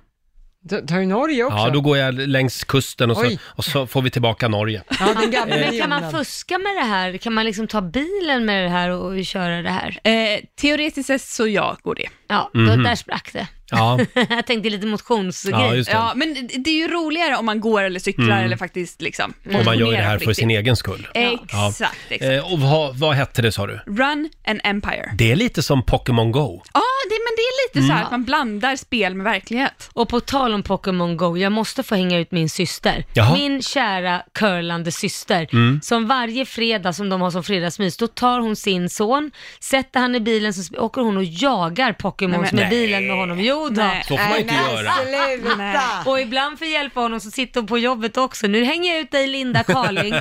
Tar du Norge också? Ja, då går jag längs kusten och så, Oj. och så får vi tillbaka Norge. Men kan Eh. man fuska med det här? Kan man liksom ta bilen med det här och, och köra det här? Eh, teoretiskt sett så ja, går det. Ja, då, Mhm. där sprack det. Ja. jag tänkte lite motionsgrej. Ja, just det. Ja, men det är ju roligare om man går eller cyklar Mm. eller faktiskt liksom Om man gör det motionerar här på för riktigt. sin egen skull. Ja. Exakt, exakt. Eh, Och vad, vad hette det sa du? Run an Empire. Det är lite som Pokémon Go. Ja, det, men det är lite så här Mm. att man blandar spel med verklighet. Och på tal om Pokémon Go, jag måste få hänga ut min syster. Jaha. Min kära curlande syster. Mm. Som varje fredag som de har som fredagsmys, då tar hon sin son, sätter han i bilen, så sp- åker hon och jagar Pokémons Nej, men- med bilen med honom. Jo då. Nej. Så får man inte Äh, Nej, men göra. alltså, sluta. Nej. Och ibland för att hjälpa honom så sitter hon på jobbet också. Nu hänger jag ut dig Linda Carling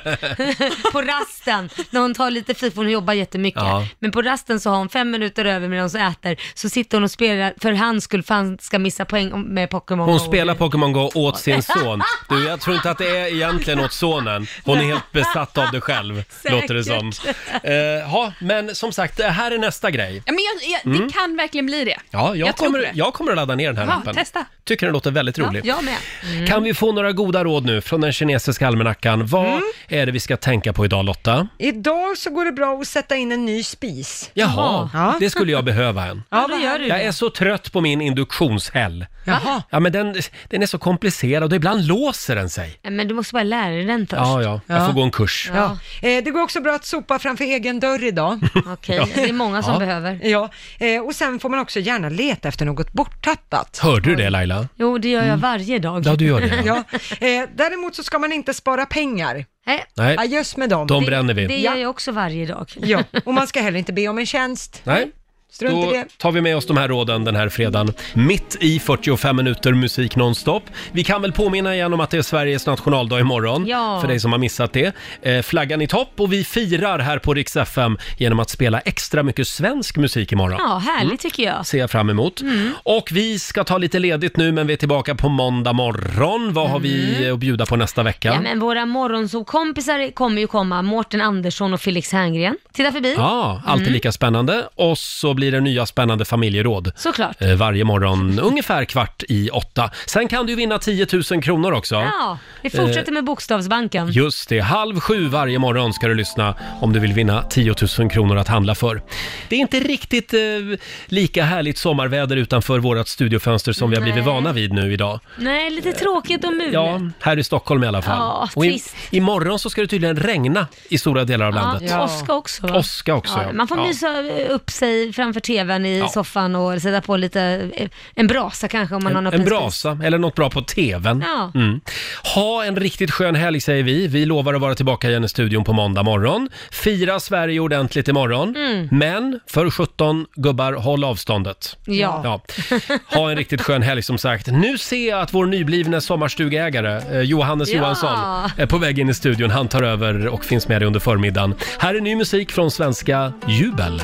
på rasten. När hon tar lite fika, för hon jobbar jättemycket. Ja. Men på rasten så har hon fem minuter över medan hon äter. Så sitter hon och spelar för hans skull, för han ska missa poäng om- med Pokémon Hon Go. spelar Pokémon Go åt sin son. Du, jag tror inte att det är egentligen åt sonen. Hon är helt besatt av det själv, låter det som. Eh, Ja, men som sagt, det här är nästa grej. Ja, men jag, jag, Mm. det kan verkligen bli det. Ja, jag, Jag tror kommer, det. jag kommer att ladda ner den här Ja, appen. testa. Tycker den låter väldigt rolig. Ja, jag med. Mm. Kan vi få några goda råd nu från den kinesiska almanackan? Vad Mm. är det vi ska tänka på idag Lotta? Idag så går det bra att sätta in en ny spis. Jaha, Ja. det skulle jag behöva en. Ja, vad gör Jag är så trött på min induktionshäll. Jaha. Ja, men den, den är så komplicerad och ibland låser den sig. Nej, Eh, Men du måste bara lära dig den först. Ja, ja, jag får gå en kurs. Ja. Eh, det går också bra att sopa framför egen dörr idag. Okej, Ja. det är många som Ja. behöver. Ja, eh, och sen får man också gärna leta efter något borttappat. Hörde du det Laila? Jo, det gör jag varje dag. Mm. Ja, du gör det, Ja. Eh, däremot så ska man inte spara pengar. Nej. Nej. Adjöss med dem. De Det- bränner vi. det gör jag också varje dag. Ja, och man ska heller inte be om en tjänst. Nej. Strunt i Då det. tar vi med oss de här råden den här fredagen. Mitt i 45 minuter musik nonstop. Vi kan väl påminna igen om att det är Sveriges nationaldag imorgon. Ja. För dig som har missat det. Eh, flaggan i topp och vi firar här på Rix FM genom att spela extra mycket svensk musik imorgon. Ja, härligt Mm. tycker jag. Ser jag fram emot. Mm. Och vi ska ta lite ledigt nu men vi är tillbaka på måndag morgon. Vad har vi eh, att bjuda på nästa vecka? Ja, men våra morgonsokompisar kommer ju komma, Mårten Andersson och Felix Herngren. Titta förbi. Ja, alltid Mm. lika spännande. Och så blir det nya spännande familjeråd. Såklart. Eh, Varje morgon ungefär kvart i åtta. Sen kan du ju vinna 10 000 kronor också. Ja, vi fortsätter Eh, med Bokstavsbanken. Just det, halv sju varje morgon ska du lyssna om du vill vinna 10 000 kronor att handla för. Det är inte riktigt eh, lika härligt sommarväder utanför vårt studiofönster som vi har blivit Nej. vana vid nu idag. Nej, lite tråkigt och mulet. Eh, Ja, här i Stockholm i alla fall. Ja, Och i, trist. imorgon så ska det tydligen regna i stora delar av Ja, landet. Åska också va? Åska också, ja. Man får Ja. mysa upp sig framför tvn i Ja. soffan och sätta på lite, eh, en brasa kanske om man har En, något en pressspis. brasa eller något bra på tvn. Ja. Mm. Ha en riktigt skön helg säger vi. Vi lovar att vara tillbaka igen i studion på måndag morgon. Fira Sverige ordentligt imorgon. Mm. Men för 17 gubbar, håll avståndet. Ja. Ha en riktigt skön helg som sagt. Nu ser jag att vår nyblivne sommarstugägare eh, Johannes Ja. Johansson är på väg in i studion. Han tar över och finns med dig under förmiddagen. Här är ny musik från svenska Jubel.